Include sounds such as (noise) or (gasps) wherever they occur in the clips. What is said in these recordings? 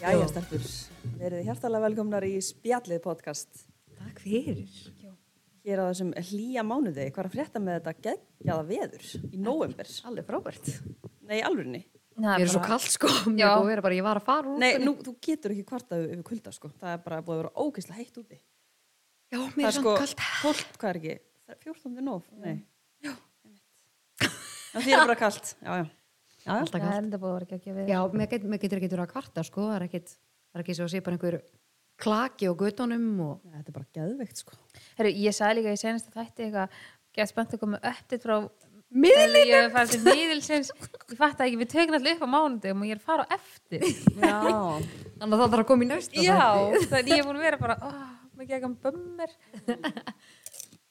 Jæja, stelpur, verið hjartalega velkomnar í Spjallið podcast Takk fyrir. hér á þessum hlýja mánuði. Hvað er að frétta með þetta geggjaða veður í nóvember? Alveg frábært. Nei, alvörinni. Ég er svo kallt sko. Mér Já. er búið að vera bara, ég var að fara úr. Nei, nú, þú getur ekki kvartað yfir kulda, sko. Það er bara búið að vera ógeðslega heitt úti. Já, Það mér er sko svo kallt. 12, hvað er ekki? Það er 14. nóf? Nei. Já, einmitt. Já, því er bara kalt. Já, já. Já, já. Alltaf Það er kallt. enda búið að vera ekki ekki við. Já, mér, get, mér getur ekki verið að kvarta sko. Það er ekkit, það er ekki svo að sé bara einhver klaki á gödunum og... Nei, Þetta er bara geðveikt, sko. Herru, ég sagði líka í senasta þætti eitthvað, gett spennt að koma upptitt frá miðlinu. Ég hef farið til miðilsins. Ég fatt ekki, við tökum allir upp á mánudum og ég er að fara á eftir. Já. Þannig að það þarf að koma í næsta (laughs) Já, þætti. þannig að ég er búin að vera bara, oh, maður ekki um bömmir.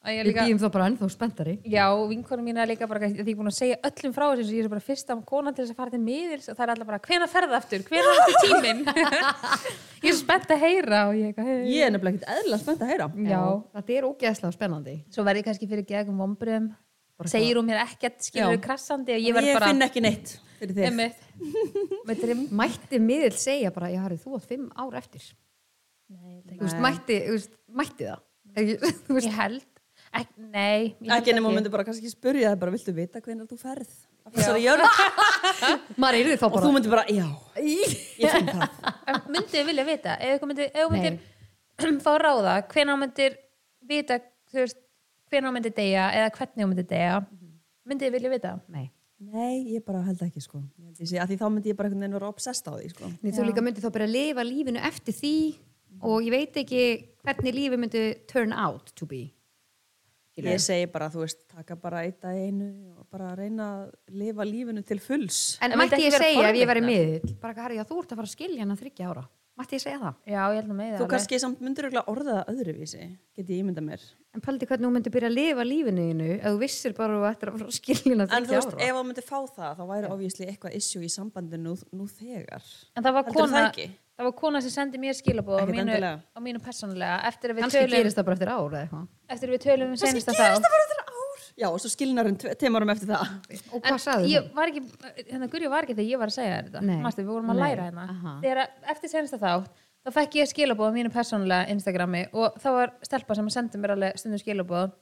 Og ég er Við líka, býjum þá bara ennþá spenntari. já, vinkonum mína er líka bara, því ég er búin að segja öllum frá þessu, ég er bara fyrsta konan til þess að fara til miðils og það er allar bara, hvena ferða aftur, hvena aftur tíminn? (laughs) ég er svo spennt að heyra og ég er eitthvað, Ég er nefnilega ekkert eðlilega spennt að heyra. já. Þetta er ógeðslega spennandi. svo verði ég kannski fyrir gegum vombriðum Bara segir hún mér ekkert skilur Já. krassandi og Ég, ég verð bara finn ekki neitt fyrir þig. einmitt. með drimm Mætti miðil segja bara, já, Harry, þú átt fimm ár eftir. Þú veist, mætti, þú veist, mætti það. Ekki- (laughs) Þú veist, ég held Ek, nei, ég held Ekki nema hún myndi bara kannski spyrja það bara, viltu vita hvernig þú ferð? Af Þessari jörð. maður er þið (laughs) þá Og þú bara... myndi bara, já, ég finn það. En myndirðu vilja vita ef þú myndir, ef þú Nei. myndir (clears throat) fá ráða hvenær þú myndir vita þú veist, hvenær þú myndir deyja eða hvernig þú myndir deyja myndir vilja vita Nei. (laughs) Nei, ég bara held ekki sko. Ég held ég sé, að því þá myndi ég bara einhvern veginn vera obsessed á því sko. Nei, þú líka myndir þá bara að lifa lífinu eftir því og ég veit ekki hvernig lífi myndi turn out to be. Ég segi bara, þú veist, taka bara eitt að einu og bara reyna að lifa lífinu til fulls. En En myndi mætti ekki ég vera segja ef ég væri forvitnar? miðill, bara ekki, já, þú ert að fara að skilja hennar þryggja ára. Mætti ég segja það? já, ég held nú með Þú það kannski samt myndir örugglega orða það öðruvísi, get ég ímynda mér. En paldi hvernig þú myndir byrja að lifa lífinu þínu ef þú vissir bara að þú ættir að fara að skilja En hennar þú þryggja veist, ára. ef þú myndir fá það, þá væri ofvísli eitthvað issue í sambandinu nú, nú þegar. en það var Heldurðu kona það ekki? það var kona sem sendi mér skilabóð á Ekkert mínu, endilega. á mínu persónulega eftir að við Kannski tölum gerist það bara eftir ára eða eitthvað. eftir að við tölum um senasta þá bara þetta ár. Já, og svo skilnar hún teimarum eftir það. Og En hvað sagði ég þú? var ekki, hérna Guri var ekki þegar ég var að segja þér þetta Nei. Manstu, við vorum að Nei. læra hérna Aha. þegar að- eftir senasta þátt þá fekk ég skilabóð á mínu persónulega Instagrami og þá var stelpa sem sendi mér alveg stundum skilabóð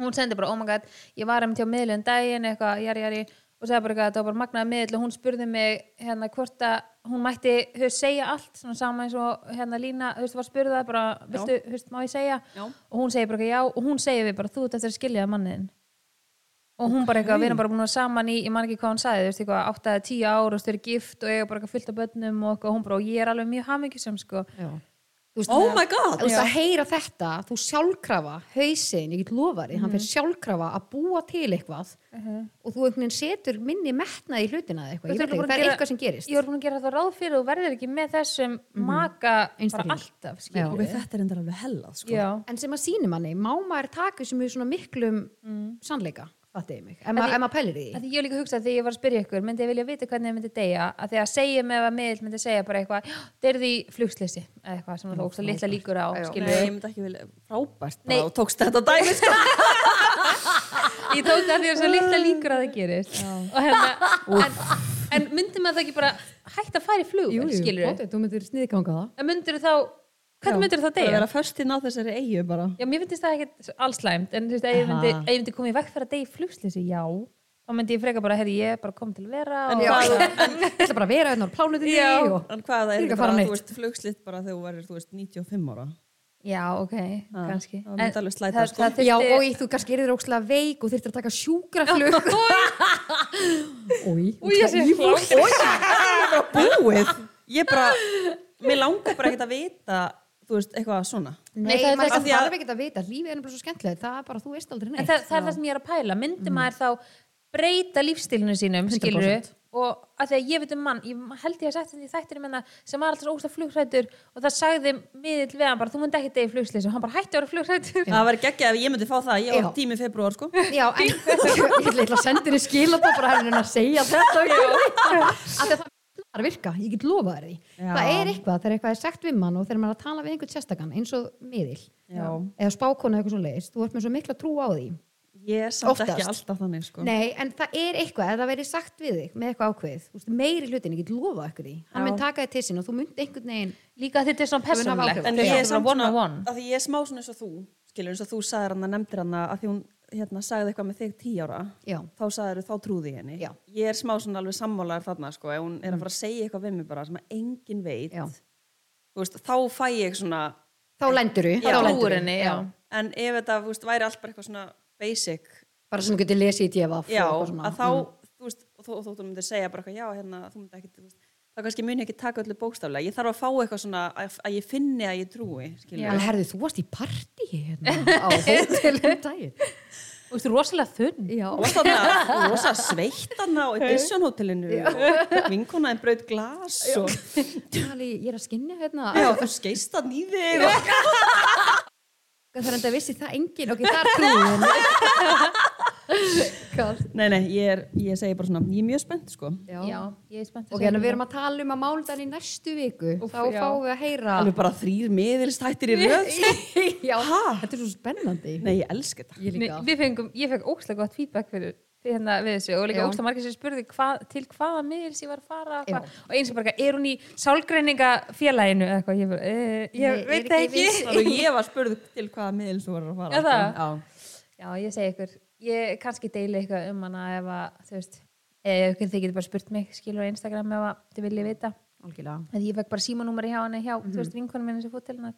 hún sendi bara, oh my god, ég var að hjá miðli um daginn eitthvað, jari, jari og sagði bara eitthvað, það var bara magnaði miðl og hún spurði mig hérna hvort að hún mætti þú veist, segja allt, svona sama eins og hérna Lína, þú veist, var spurðað bara, viltu, þú veist, má ég segja? Já. Og hún segir bara eitthvað, já, og hún segir við bara, þú ert eftir að skilja manniðin og hún bara eitthvað, við erum bara búin að vera saman í, ég man ekki hvað hún sagði, þú veist, eitthvað, átt að tíu ár og stu eru gift og eiga bara eitthvað fullt af börnum og eitthvað, og hún bara, og ég er alveg mjög hamingjusum, sko. Já. Þú veist, Oh þannig að- my god! Þú veist að heyra þetta, þú sjálfkrafa hausinn, ég get lofari, hann fyrir sjálfkrafa að búa til eitthvað og þú einhvern veginn setur minni metnað í hlutina eða eitthvað, ég Þú veit ert ekki, það er örugglega búin að eitthvað sem gerist Ég er búin að gera það ráð fyrir og verður ekki með þessum maka bara Einstakling. alltaf, Já. skilur. Og við þetta er endar alveg hellað sko. Já. en sem að sýni manni, má maður taka sem er svona miklum sannleika fattu ég mig, ef ma- því- ef maður pælir í Mm. Að því því ég líka hugsaði þegar ég var að spyrja ykkur, myndi ég vilja vita hvernig ég myndi deyja, að því að segja mig ef að miðl myndi segja bara eitthvað, deyrði í flugsleysi, eða eitthvað sem það ógst að litla líkur á, Nei, skilur. ég myndi ekki vilja, frábært Nei. bara, og tókst þetta dæmi sko. Ég tók það því að svo litla líkur að það gerist. Og hérna, en, en myndi maður það ekki bara hægt að fara í flug, skilur? þú myndir sniðganga það En myndir þá, hvernig myndir það Bara deyja? vera föstinn á þessari eigu bara. Já, mér finnst það ekkert allslæmt en þú veist, ef ég myndi, ef ég myndi komið vekk fyrir að degi flugslýsi, já þá myndi ég freka bara, herri, ég er bara kom til að vera En og Já. ég ætla bara að vera einn á plánutinni Já. og En hvað það Ég er er ekki að ekki fara bara, neitt. þú veist, flugslitt bara þegar þú verður, þú veist, 95 ára. já, ok, kannski Ah, það myndi En alveg slæta, það- sko. það þyrfti- Já, og í, þú kannski er þér ókslega veik og þurftir að taka (laughs) sjúkraflug Új, Új, ég sé flótt (laughs) Búið! Ég bara, mér langar bara ekkert að vita, þú veist, eitthvað svona. Nei, það er maður það sem- þarf ekkert að vita, lífið er bara svo skemmtilegt, það er bara, þú veist aldrei en neitt. það, það er það sem ég er að pæla Mm. myndi maður þá breyta lífstilinu sínum skilur 100%. og að því að ég veit um mann ég held ég að sagt þetta í þættinum minna sem var alltaf svo óslega flugrættur og það sagði miðill við hann bara, þú myndi ekki degi flugslýs og hann bara hætti að vera flugrættur Það verður geggjað ef ég myndi fá það, ég Já. var tími februar, sko. Já, en ég ætla- ég ætla að senda henni skilabóð bara henni að segja þetta Af því að það er að virka, ég get lofað þér því Já. Það er eitthvað, þegar eitthvað er sagt við mann og þegar maður er að tala við einhvern sérstakann eins og miðil Já. eða spákona eða eitthvað svo leiðist, þú ert með svo mikla trú á því Ég er samt Oftast. ekki alltaf þannig sko. Nei, en það er eitthvað, ef það verið sagt við þig með eitthvað ákveðið, þú veist, meiri hlutin ég get lofa ykkur því, hann Já. mun taka þig til sín og þú mynd einhvern veginn líka þetta er svona Það mun hafa persónulegt áhrif. En Já. ég er svona samt one on one að því ég er smá svona eins og þú, skilur eins og þú sagðir hann að nefndir hann að því hún hérna, sagði eitthvað með þig tí ára, Já. þá sagðir þá trúði ég henni. Já. Mm. Ég er smá svona alveg sammálaður þarna sko, ef hún er að fara að segja eitthvað við mig bara sem að enginn veit, Já. þú veist, þá fæ ég svona, þá lendur þú, Já. þá úr lendur henni, já en ef þetta, þú veist, væri alltaf eitthvað svona basic, bara sem þú getur lesið í djefa já, að þá, Mm. þú veist, og þú, og þú, þú myndir segja bara eitthvað, já, hérna, þú myndir ekki, þú veist, þá kannski muni ekki taka öllu bókstaflega. Ég þarf að fá eitthvað svona að, að ég finni að ég trúi, skilur. en herðu, þú varst í partí hérna á hótelum daginn Þú veist, rosalega þunn já, Og þarna, rosa sveitt þarna á Edition hótelinu vinkonaðin braut glas og Tali, ég er að (laughs) skinja hérna já, þú skeist þarna í þig og það er enda að vissi það engin, ok, það er hérna. trúin Nei, nei, ég, er, ég segi bara svona, ég er mjög spennt sko Já, ég er spennt ok, en við erum að tala um að máludan í næstu viku Úff, þá já. fáum við að heyra Alveg bara þrýr miðilstættir í röð sko. (laughs) já, Ha? þetta er svo spennandi Nei, ég elska þetta ég líka Nei, við fengum, ég fekk ókslega gott feedback fyrir, fyrir hérna við þessu og líka Já. ókslega margir sem spurði hva, til hvaða miðils ég var að fara Já. hva, og eins og bara, eitthvað, er hún í sálgreiningafélaginu eða eitthvað, ég, bara, eh, ég Nei, er veit ekki það ekki viss. Og ég var spurð til hvaða miðils þú var að fara Er það? sko. Já, ég segi ykkur, ég kannski deili eitthvað um hana ef að, þú veist eh, eða ykkur þið getur bara spurt mig, skilur á Instagram ef að þið viljið vita algjörlega að ég fekk bara símanúmeri hjá henni hjá, Mhm. þú veist, vinkonum minni sem fótt til hennar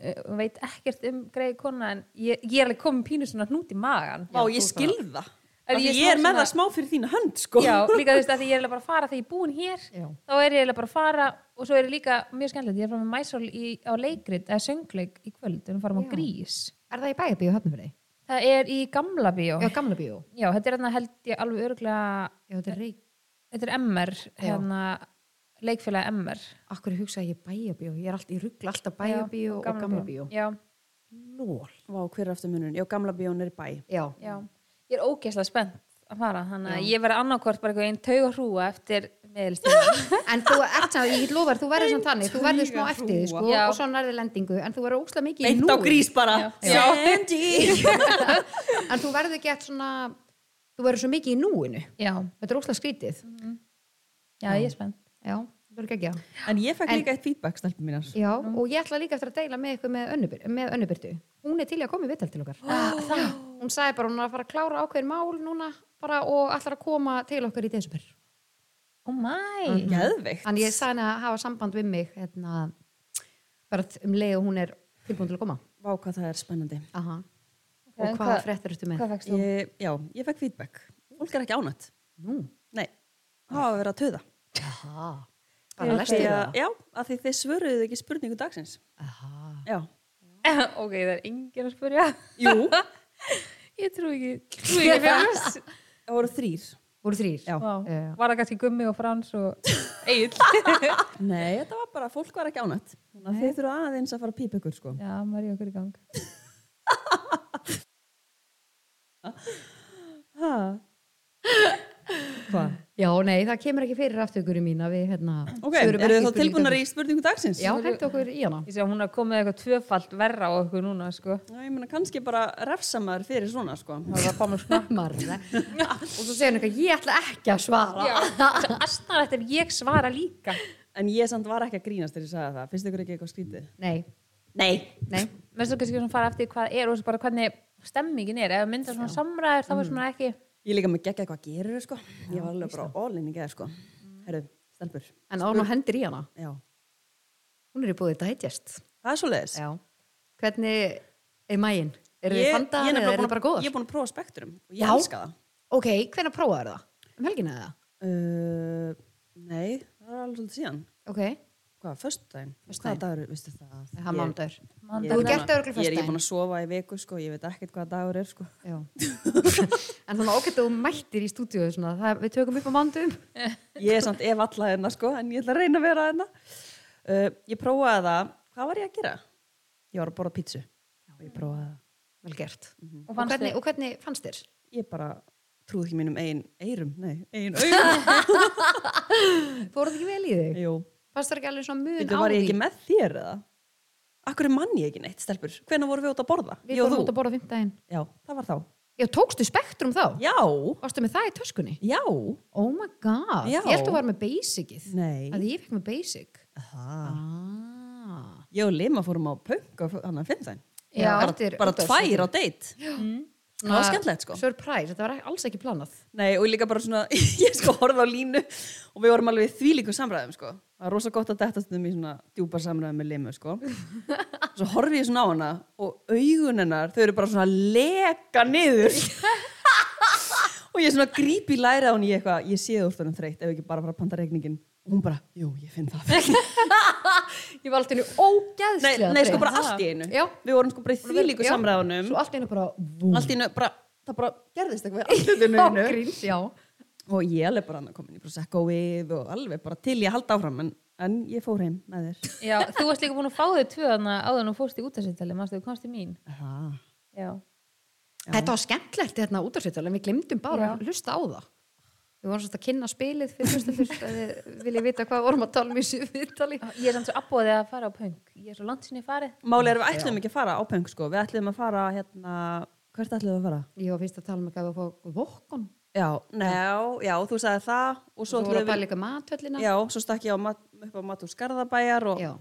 Eh, hún veit ekkert um greiði konuna en ég, ég er alveg komin pínu svona hnút í magan Vá, ég skil það Að Af því ég er Ég er smá með svona- það smá fyrir þína hönd sko Já, líka þú veist að því ég er eiginlega bara að fara þegar ég er búin hér Já. þá er ég eiginlega bara að fara og svo er ég líka mjög skemmtilegt, ég er frá með mæsól í, á leikrit, eða söngleik í kvöld við erum farum á Já. grís Er það í bæjabíu höfnumfyrir? Það er í gamla bíó Já, gamla bíó. Já, þetta er hérna held ég alveg örglega Já, þetta er reik. þetta er MR, hérna leikfélag MR Akkur hugsaði ég bæjabíó. Ég er alltaf, ég ruggla alltaf bæjabíó og gamla bíó. Já, Lól. Vá, hver er aftur munun? Já, gamla bjón er í bæ Já. já, ég er ógeðslega spennt að fara, þannig að ég verði annarkvort bara einhvern tauga hrúa eftir meðilstíðan En þú ert samt, ég get lofað, þú verður samt þannig, þú verður smá taugahrúga. eftir því, sko, Já. og svo nærði lendingu, en þú verður óslega mikið í Beint nú. á grís bara Já. (laughs) Sandy En þú verður gett svona, þú verður svo mikið í núinu. (laughs) Já, Þetta er óslega skrítið. já, ég er spennt Já, þú verður ekki að. En ég fekk En- líka eitt feedback, stelpum mínar Já, og ég ætla líka eftir að deila með ykkur með önnubyrtu. Með önnubyrtu. Hún er til í að koma í vital til okkar. Ah, Það, Hún sagði bara, hún er að fara að klára ákveðin mál núna bara og ætlar að koma til okkar í desember. oh my Geðveikt Þannig ég sagði henni að hafa samband við mig hérna, bara um leið og hún er tilbúin til að koma. Vá, hvað það er spennandi Aha. Ok, en og hvaða hvað- fréttir ertu með? Hvað fækst þú? ég, já, ég fekk feedback fólk er ekki ánætt Nú. nei, það hafa verið að töða Aha. Þegar- Bara lestir það. já, af því þið svöruðu ekki spurningu dagsins Aha. já, (laughs) ok, það er engin að spurja jú, (laughs) það (laughs) Ég trú ekki, trú ekki (laughs) fyrir þess voru þrýr Voru þrýr? Já. Já. Var það kannski gummi og frans (laughs) og eigin nei, þetta var bara, fólk var ekki ánætt þannig að þið þurfa aðeins að fara að pípa ykkur sko. Já, maður í okkur í gang ha. hvað? Já, nei, það kemur ekki fyrir aftökurum mín að við hérna... ok, eru þið þá tilbúnar í spurningu dagsins? Já, hættu okkur í hana. Ég sé að hún er komið eitthvað tvöfalt verra á okkur núna sko. Ná, ég meina kannski bara refsamar fyrir svona sko. Það var bara (laughs) snammar. og svo segir hann eitthvað, ég ætla ekki að svara. (laughs) Astnar þetta ef ég svara líka en ég samt var ekki að grínast þegar ég sagði það finnst ykkur ekki eitthvað skrítið? Nei, nei, nei. Menst þú kannski svona fara eftir hvað er og svo bara hvernig stemmingin er Ef myndar svona samræður þá er svona ekki Ég líka með geggjað hvað gerir sko. Ég var alveg bara all in í geða sko. Mm. Herru, stelpur. En án og hendir í hana. Já. Hún er í búið digest. Það er svo leiðis. Já. Hvernig er maginn? Er þið fandaðar eða er það bara góðar? Ég er búin að prófa spektrum og ég Já. elska það. Ok, hvenær prófaðu það? Um helgina eða? Uh, nei, það er alveg svolítið síðan. Ok. Hvað, föstudaginn? Föstudaginn. Hvaða dagur, veistu það? Það er mánudagur. Ég- Mánudagur. ég er Þú gert búin það að- örgulega Ég er ekki búin föstudaginn. að sofa í viku sko, ég veit ekkert hvaða dagur er sko. Já. (laughs) en þannig ágætt að þú mættir í stúdíu svona, það, við tökum upp á mánudum. Ég er samt ef alla hérna sko, en ég ætla að reyna að vera hérna. Uh, ég prófaði það, hvað var ég að gera? Ég var að borða pítsu. og Ég prófaði það. Vel gert. Mhm. Og Og fannst hvernig, og hvernig fannst þér? Ég bara trúði ekki mínum eigin eirum, nei, (laughs) eigin augum. Fóruð ekki vel í þig? Jú, Fannst þér ekki alveg svona mun þetta á var ég því? ekki með þér eða? Akkur mann ég ekki neitt, stelpur? Hvenær voru við út að borða? Við Ég og fórum þú? út að borða fimmtæðin. Já, það var þá. Já, tókstu spektrum þá? Já, Varstu með það í töskunni? já. Oh my god, Já. ég held að var með basicið. Nei. Að ég fekk með basic. Aha. Ah. Ég og Lima fórum á punk og hann að finna þeim. Já, bara, eftir- bara út af tvær á deitt. Það var skemmtilegt sko. Surprise, þetta var ek- alls ekki planað. Nei, og líka bara svona, (laughs) ég sko horfði á línu og við vorum alveg í þvílíkum samræðum, sko. Það var rosa gott að detta stundum í svona djúpa samræðum með limu, sko. Svo horfði ég svona á hana og augun hennar, þau eru bara svona að leka niður. og ég svona gríp í lærið á henni ég eitthvað, ég sé þú úr þannig þreytt ef ekki bara fara að panta reikningin. Og hún bara, jú, ég finn það. Ég var alltaf nei, ógeðslega nei, sko bara allt í einu. Já. Við vorum sko bara í þvílíkum samræðunum. Svo allt í einu bara vum. Allt í einu, bara, það bara gerðist eitthvað í andlutinu Já, hennu. gríns, já. og og ég alveg bara komin í proseccoið og alveg bara til ég halda áfram en, en ég fór heim með þér Já, þú varst líka búin að fá þau tvö þarna áður og fórst í útastýrtali, mannstu, þú komst í mín. ah. Já. Þetta var skemmtlegt þetta út af sér en við glemdum bara Já. að hlusta á það Við vorum svolítið að kynna spilið fyrir hlusta fyrst að þið viljið vita hvað við vorum að tala um í viðtali Ég er samt svo abbóðið að fara á punk. Ég er svo langt sinni farið. Málið er að við ætlum ekki að fara á peng sko við ætlum að fara hérna hvert ætlum við að fara? Ég var fyrst að tala um að gafa á vokkun Já, já, já, þú sagði það og Svo svo voru að ætlum pæla við líka matöllina Já, svo stakk ég á mat, upp á Matúr Skarðabæjar og Já.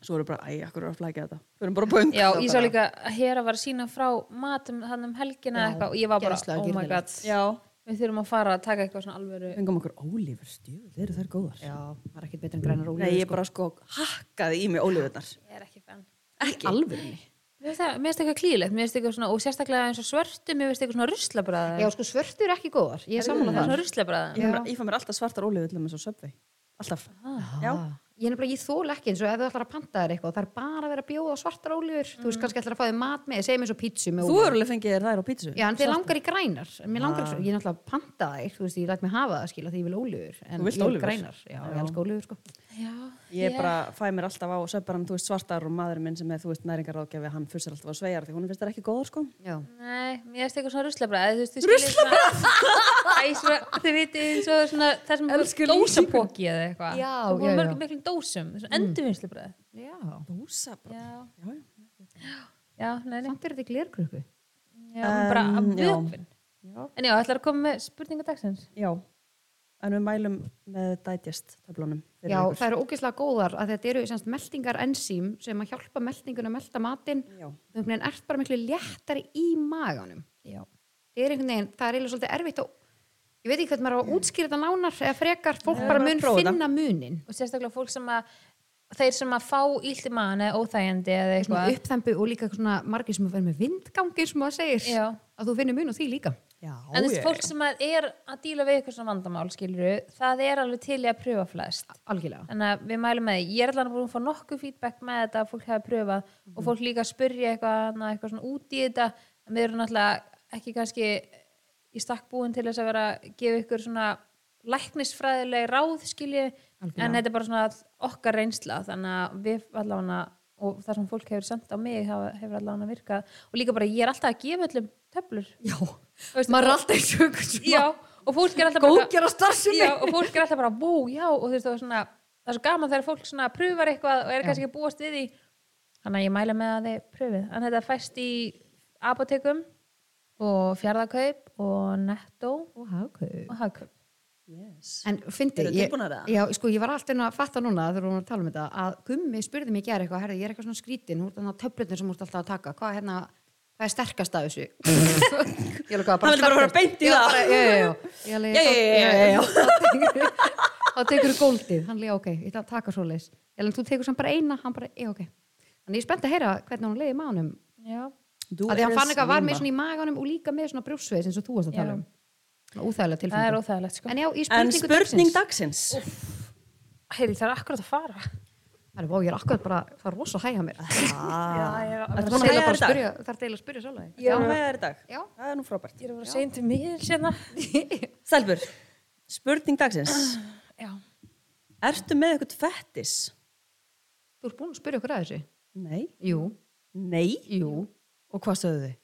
svo voru bara, æ, akkur eru að flækja þetta Við erum bara pöng Já, ég sá líka að hér að var að sína frá matum hann um helgina eða eitthvað og ég var bara, geðslega oh my god, girnilegt. Já, við þurfum að fara að taka eitthvað svona alvöru. fengum okkur ólífur stjöð, þeir eru þær góðar Já, það er ekkert betur en grænar og Nei, ég bara sko hakkaði í mig ólífurnar Ég er ekki fenn. Ekki Alvörni Mér finnst það- mér finnst það eitthvað klíðilegt, mér finnst eitthvað svona, og sérstaklega eins og svörtu, mér finnst eitthvað svona ruslabræða. Já, sko svörtu eru ekki góðar, ég er sammála Svona þar Ég, ruslabræða. fæ mér- ég fæ mér alltaf svartar ólífur til þess að söpvi Alltaf Já. Ah, Ég er nefnilega, ég þól ekki eins og ef þú ætlar að panta þér eitthvað, það er bara að vera að bjóða á svartar óljur, þú veist kannski ætlar að fá þér mat með, segjum eins og pítsu með Mm. Þú eru alveg fengið þér þær á pítsu? Já, en mér langar í grænar en mér langar, Ah. ég er náttúrulega að panta þær þú veist, ég læt mig hafa það skila því ég vil óljur en Þú vilt ég vil ólífur? grænar, já, ég elska óljur sko Já, Ég bara fæ mér alltaf á söparan, þú veist, svartar og maðurinn minn sem er, þú veist, næringaráðgjafi, hann fussar alltaf á sveigar því hún finnst þær ekki góðar, sko. Já, Nei, mér finnst eitthvað svona ruslabræð Ruslabræð? Æ, svona, þið veitir eins og svona það sem Elsku er dósapóki eða eitthvað Já, Það já, voru já. mörgum miklum dósum, svona endurvinnslubræð já, Dósa bara. Já, Já, já. já, nei, nei samt er þetta í glerkrukku Já, um, bara Um, já. vöfin En já, ætlar að koma með spurningu dagsins Já. En við mælum með digest töflunum. fyrir Já, ykkur. það eru ógeðslega góðar að þetta eru semst meldingar ensím sem að hjálpa meldingun að melda matinn Já. þú einhvern veginn ert bara miklu léttari í maganum Já, það er einhvern veginn, það er eiginlega svolítið erfitt að ég veit ekki hvernig maður á að útskýra þetta nánar eða frekar, fólk Nei, bara bara mun prófa þetta. finna munin og sérstaklega fólk sem að þeir sem að fá illt í mann eða óþægjandi eða svona eitthvað uppþembu og líka svona margir sem að vera með vindgangir sem maður segir Já. að þú finnir mun og því líka Já, En þessi ég- fólk sem að er að díla við eitthvað svona vandamál skilur það er alveg til í að pröfa flest algjörlega þannig að við mælum með því ég er allan búin að fá nokkuð feedback með þetta að fólk hefði pröfað og Mhm. fólk líka að spyrja eitthvað, annað, eitthvað svona út í þetta en við erum náttúrulega ekki kannski í stakk búin til þess að vera að gefa ykkur svona læknisfræðileg ráð skilji en þetta er bara svona okkar reynsla þannig að við allavega og það sem fólk hefur sendt á mig hafa- hefur allavega virkað og líka bara ég er alltaf að gefa öllum töflur já, Þú veist, maður er alltaf eins og einhvern svona já, og fólk er alltaf bara- góðgjara starfsemi já, og fólk er alltaf bara bú, já og þú veist það var svona, það er svo gaman þegar fólk svona pröfar eitthvað og er kannski ekki að búast við því þannig að ég mæla með að þið pröfið en þetta fæst í apotekum og fjárðakaup og netto og hagkaup. og hagkaup Yes. en fyndi Eru ég, tilbúnar eða? já, sko, ég var alltaf að fatta núna þegar við vorum að tala um þetta að gummi spurði mig í gær eitthvað herði, ég er eitthvað svona skrítin, hún er þannig að töflutin sem hún er alltaf að taka hvað, hérna, hvað er sterkast (laughs) af þessu ég er Hann vildi bara fara beint í það. já, já, já, já, Já, já, já, já, já. já, (laughs) þá tekur þú góldið hann leiði ok, ég ætla að taka svo leis en þú tekur samt bara eina, hann bara, já ok þannig ég er spennt að heyra hvernig hún leiði mánum já, Þú að því hann eres fann eitthvað var Lima. með svona í maganum og líka með svona brjósveið eins og þú varst að Já. tala um Svona úþægilega það er tilfinningu óþægilegt sko en já, í En spurningu spurning dagsins dagsins. heyrði það er akkurat að fara það er, vá, ég er akkurat bara, það er rosa hæg að mér Ah. já, ég er Ertu að- það búin að er hægja þér í bara að dag? spyrja það er deila að spyrja Ég sjálf er að hægja þér í dag. Já. Það er nú frábært. ég er að vera segjum til hérna. mér sérna Stelbur, spurning dagsins. (laughs) já, Ertu með eitthvað fettis? þú ert búin að spyrja okkur að þessu Nei. jú, Nei. jú, Og hvað sögðu þið?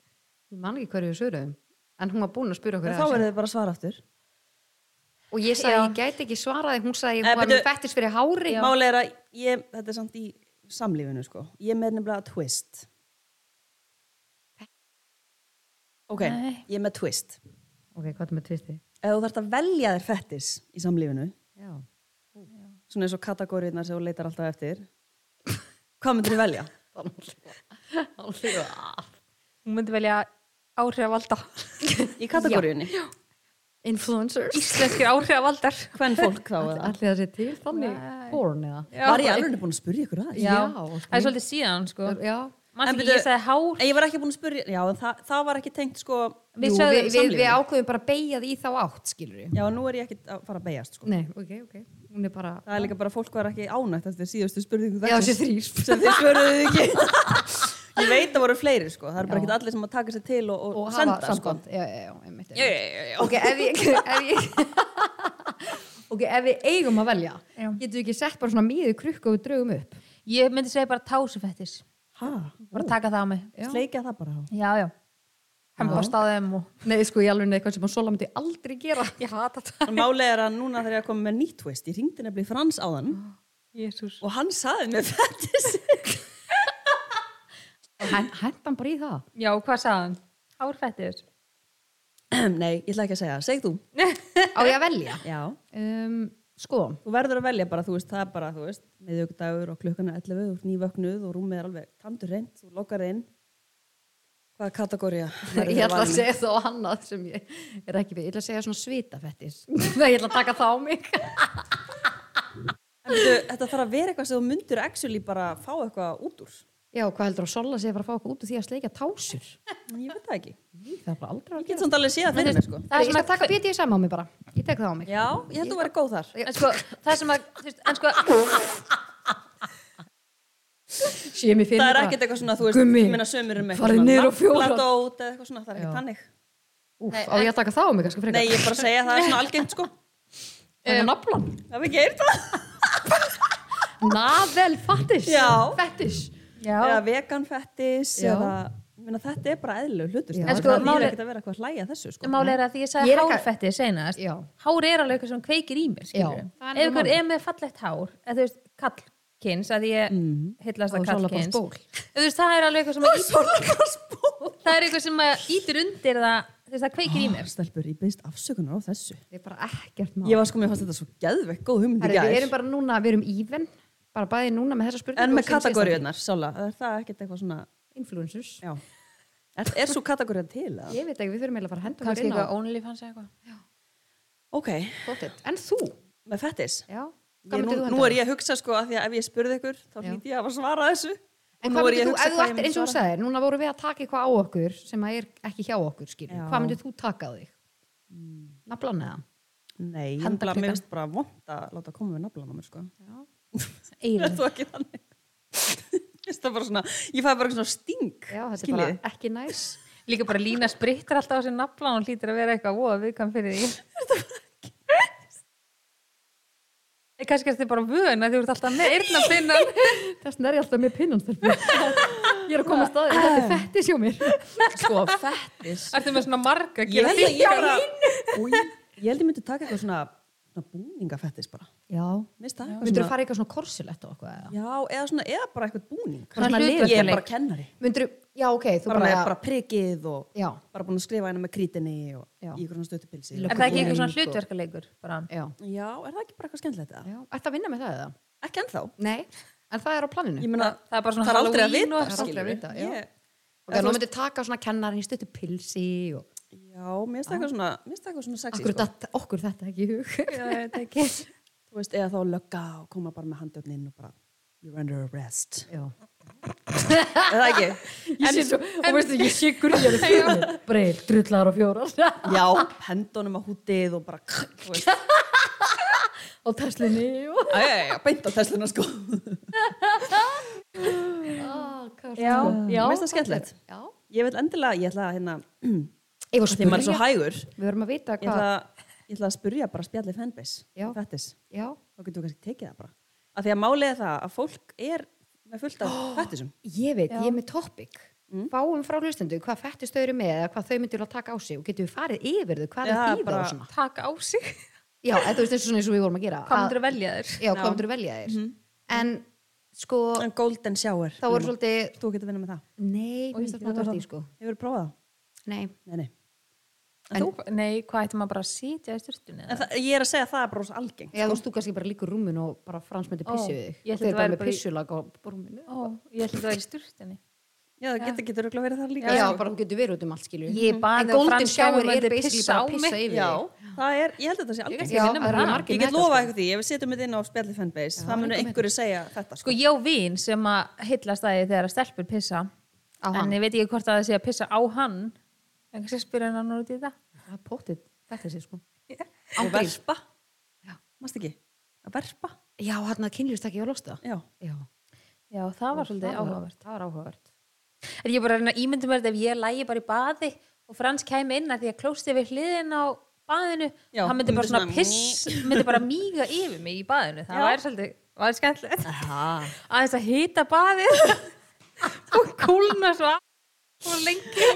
ég man ekki hverju við svöruðum en hún var búin að spyrja okkur En að Þá þessu verður þið bara að svara aftur. og ég sagði, Já. ég gæti ekki svaraði hún sagði, Eh, hún var með byrju. fettis fyrir hári Málið er að ég, þetta er samt í samlífinu sko, ég er með nefnilega twist. ok, Nei. ég er með twist Ok, hvað er með tvisti? ef þú þarft að velja þér fettis í samlífinu Já. svona eins og kategóriðnar sem þú leitar alltaf eftir hvað myndir þú velja? Hún myndi velja áhrifavaldar. í kategóriðinni, Influencers. Íslenskir áhrifavaldar. hvern fólk þá eða? Allir það sé til þannig porn eða? var ég alveg búin að spyrja ykkur að Já. Já. Það er svolítið síðan, sko. Já. En Mann fyrir byrju- ég sagði hár. En ég var ekki búin að spyrja, já, en það, það var ekki tengt sko Við Jú, sögðum við, við, við samlífinu. ákveðum bara að beigja því í þá átt, skilur við. Já, en nú er ég ekki að fara að beigjast sko Nei, ok, ok. Hún er bara... Það er líka bara fólk var ekki ánægt eftir síðustu spurningu Já, dagsins. þessi þrýr. sem þið svöruðu ekki Ég veit að voru fleiri sko, það er bara Já. ekki allir sem að taka sér til og, og, og senda hafa sko samband já, já, já, einmitt, einmitt. Já, já, já, já. ok, ef ég, ef ég (laughs) ok, ef við eigum að velja Já. getum við ekki sett bara svona miðu krukku og við draugum upp Ég myndi segja bara tásufettis. Ha, Bara taka það á mig. Já. sleikja það bara á Já, já. Hann bara staðum og... nei, sko, ég alveg neitt eitthvað sem að Sola myndi aldrei gera Ég hata það. En Málið er að núna þegar ég er komið með nýtt twist Ég ringdi nefnilega í Frans á þann Ah. Jésús. og hann saði mér fettis Hen- hent hann bara í það Já, hvað sagði hann? Hárfettis. (clears throat) Nei, ég ætla ekki að segja, það. segð þú á ég að velja Já, um, sko, þú verður að velja bara, þú veist, það er bara, þú veist miðjögdagur og klukkan er 11, þú ert nývöknuð og rúmið er alveg tandur reynd, þú lokar inn Hvaða kategóri ég ætla að segja þá annað sem ég er ekki við, ég ætla að segja svona svitafettis (laughs) nei, ég ætla að taka það á mig En veitu, þetta þarf að vera eitthvað sem þú myndir actually bara fá eitthvað út úr. já, hvað heldur að Sola sé að fara að fá okkur út úr því að sleika tásur Ég veit það ekki. Í, það er bara aldrei Ég get samt alveg séð það fyrir mér, sko. Það ég sem skal að taka BDSM á mig bara, ég tek það á mig Já, ég held að þú verið góð þar. En sko, það sem að, þú veist, en sko, sé mér fyrir Það mér er bara- ekkert eitthvað svona, þú veist, Gummi, ég meina sömur um farið niður á fjóra. Platót eða eitthvað svona, það er Já. ekki þannig. Úf, Nei, á ég að taka það á mig kannski Nei, frekar? ég er bara að segja, það er svona algengt, sko. Það er naflan. Það er ekki eirt það. Navel fattis. Já. Fettis. já, Eða vegan fettis, Já. eða, ég meina, þetta er bara eðlug hlutur. Já. sko. En sko, það málið- er ekkert að vera eitthvað að hlæja að þessu, sko. (laughs) máli er að því ég Ég sagði er ekki- hárfetti senast Já. hár er alveg eitthvað sem kveikir í mér Já. skilurðu. Það er ef nefnilega ykkur málið. er með fallegt hár eða þú veist kallkins að ég mm. hillast Og að Sola bara kallkins spól. Ef þú veist, það er alveg eitthvað sem að ítir, það er eitthvað sem að ítir undir það þú veist, það kveikir í Ah. mér Stelpur, ég beðist afsökunar á þessu. Ég er bara ekkert mál. Ég var sko, mér fannst þetta svo geðveikt góð hugmynd í Herri, gær. við erum bara núna, við erum even. Bara bæði núna með þessa spurningu. En með hérna. og síðan síðasta kategóriunar, Sola, er það ekkert eitthvað svona þátt. Influencers. Já. Er, er svo kategórið til? eða? Ég veit ekki, við þurfum eiginlega að fara að henda okkur kannski inn á eitthvað OnlyFans eða eitthvað Ok, pottet. En þú? með fettis. Já. Ég, nú, nú er ég að hugsa sko að því að ef ég spurði ykkur þá Já. hlýt ég að fara að svara þessu. En Og hvað nú er myndir ég að hugsa þú, ef þú hvað ég ættir, myndi eins og þú svara. sagðir, núna vorum við að taka eitthvað á okkur sem að er ekki hjá okkur, skilur. Já. Mm. Hvað myndir þú taka á þig? Naflan eða? Nei, ég bara, Handaklukkan. mér finnst bara vond að láta koma við naflan á mér sko. Það (laughs) er Eyrun. þú ekki þannig. Mér finnst það bara svona, ég fæði bara svona sting. Já, þetta er skiljiði. bara ekki næs. líka bara lína sprittir alltaf á sér nafla og hlýtir að vera eitthvað voða viðkvæm fyrir (laughs) því Eh, kannski er þetta bara vön að þú ert alltaf með (laughs) eyrnapinnan Þess vegna er ég alltaf með pinnan stelpur. (laughs) Ég er að koma að staði, þetta er fettis hjá mér. Sko, fettis. ertu með svona marga Ég held að ég þykka bara, Új, ég held ég myndi taka eitthvað svona, svona búninga fettis bara. Já. Mér finnst það eitthvað Myndur þú svona. fara í eitthvað svona korsilett og eitthvað eða? Já, eða svona, eða bara eitthvað búning. Svona Ég er hlutverkaleik. bara kennari. Myndur þú, já ok, þú Bara bara, með bara prikið og já, bara búin að skrifa hérna með krítinni og Já. í ykkur svona stöttupilsi Í Er það ekki eitthvað svona Búning og- hlutverkaleikur? Bara? já. Já, er það ekki bara eitthvað skemmtilegt eða? já. Ertu að vinna með það eða? Ekki ennþá Nei. En það er á planinu? Ég meina, Það- það er bara svona það er aldrei að vita, Það Halloween og- er aldrei að skilurðu. vita, já. Ég- Ok, nú myndur taka svona kennarin í stöttu pilsi og... Já, mér finnst það eitthvað svona mér finnst það eitthvað svona sexy Akkur sko. datt okkur þetta ekki í hug. Já, þetta ekki. Þú veist, eða þá lögga og koma bara með handöfnin og bara You're under (laughs) arrest Já. Er það ekki? Ég sé svo, og veistu, ég sé (laughs) grýjar í fyrir. Breið, drullar og fjórar. (laughs) Já, hendunum á hútið og bara (laughs) þú veist, og teslinni og... æ, æ, æ, beint á Tesluna sko Ah, hvað Já, (laughs) sko. já, Mér finnst það skemmtilegt. Já. Ég vil endilega, ég ætla að hérna (clears throat) Þegar Ég var maður er svo spurja. hægur Við verum að vita Ég hvað... ætla, ég ætla að spyrja bara spjalli fanbase Já. Fettis Já. þá getur við kannski tekið það bara af því að málið er það að fólk er með fullt af (gasps) fættisum Ég veit, ég er með topic. Mm. Fáum frá hlustendu hvað fættist þau eru með eða hvað þau myndir að taka á sig og getum við farið yfir þau hvað Já, það þýða bara- og svona. Taka á sig. Já, eða þú veist eins og svona eins og við vorum að gera. Hvað að- myndir að velja þér? Já, Mhm. hvað myndir að velja þér. En sko, en golden shower þá voru svolítið, þú getur að vinna með það nei, mér finnst það það svona Sko- dært í sko. hefur prófað það nei, Nei, nei. En þú? Nei, hvað ætti maður bara að sitja í styrtunni? En það, ég er að segja að það er bara rosa algengt. Já, þú veist, þú kannski bara líkur rúmin og bara fransmyndi Ó, pissu við þig. ég Og ætla Þau þetta er bara væri með bara í- pissulag á rúminu. Ó, ég ætla að það er í styrtunni. Já, það getur getur örugglega verið það líka. Já, sko. bara hún getur verið út um allt, skilju. Ég baði En á golden franska og shower myndi er basically pissa bara á að pissa mig. yfir Já, þig. það er, ég held að þetta sé algengt. kannski Já, vinna með það eru það. margir Ég get með lofa þetta, sko. ykkur því, ef við setjum þetta inn á spjalli fanbase, það munu einhverju segja þetta. Sko. Sko, ég á vin sem að heillast að því þegar að stelpur pissa. Á hann. En ég veit ekki hvort að það sé að pissa á hann. En kannski spyrir hann hann út í það. sko. Það er pottið, þetta sé sko. Og Ángrín. verpa. Já. Mást ekki? Að verpa? Já, hann að kynlýst ekki á losta. Já. Já, Já, það var svolítið áhugavert. Það var áhugavert. En ég er bara að reyna að ímyndum verið ef ég lægi bara í baði og Frans kæmi inn að því að klósti við hliðin á baðinu, Já, hann myndi bara myndi svona svona piss, myndi bara míga yfir mig í baðinu. Það Já. væri svolítið, var skemmtilegt. Aha. Aðeins að hýta baðið (laughs) og kúlna svo af og lengi.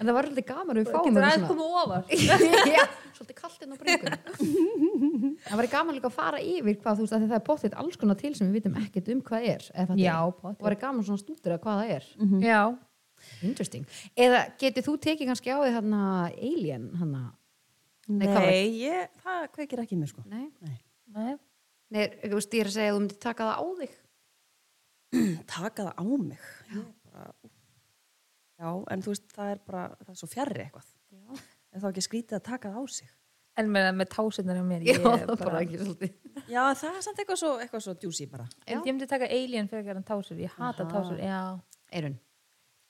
En það var alltaf gaman að við fáum Getur aðeins eitthvað komið ofar. svona- (laughs) Já, svolítið kalt inn á bringunum. (laughs) það var gaman líka að fara yfir hvað þú veist að það er pottið alls konar til sem við vitum ekkert um hvað er. eða fattar Já, ég. pottþétt. Það var gaman svona stútur að hvað það er. (laughs) Já. Interesting. Eða getur þú tekið kannski á því hann alien hann Nei, hvað var- Nei, ég, það kveikir ekki í mér, sko. Nei, Nei. Nei. Nei þú veist, ég er að segja að þú myndir taka það á þig. Taka það á mig. Já. Bara, já, en þú veist, það er bara, það er svo fjarrri eitthvað. Já. En þá ekki skrítið að taka það á sig. En með, með tásunar á mér, Já, ég það bara... er bara ekki svolítið. Já, það er samt eitthvað svo, eitthvað svo djúsi bara. En ég myndi taka alien fyrir en tásur, ég hata Aha. tásur, já. Eirun.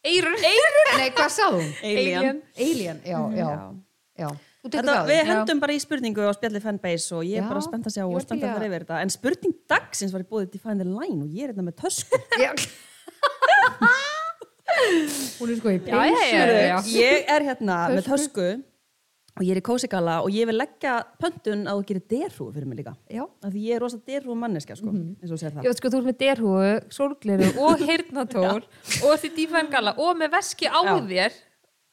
Eirun, eirun, Nei, hvað sagði hún? alien. Alien, já, Mhm, já. Já. já. Þú tekur Þetta, það á við þig. hendum bara í spurningu á spjalli fanbase og ég er Já, bara spennt að sjá ég og var spennt til í að fara að- yfir þetta en spurning dagsins var í búið til Find the Line og ég er þetta með (laughs) tösku Já. hún er sko í Já, já, já, já. ég er hérna með tösku og ég er í kósigala og ég vil leggja pöntun að þú gerir derrú fyrir mig líka Já. Mhm. af því ég er rosa derrú manneska sko, eins og þú sér það Já, sko, þú ert með derhúu, sólgleru (laughs) og heyrnatól og því dífængala og með veski á Já. þér.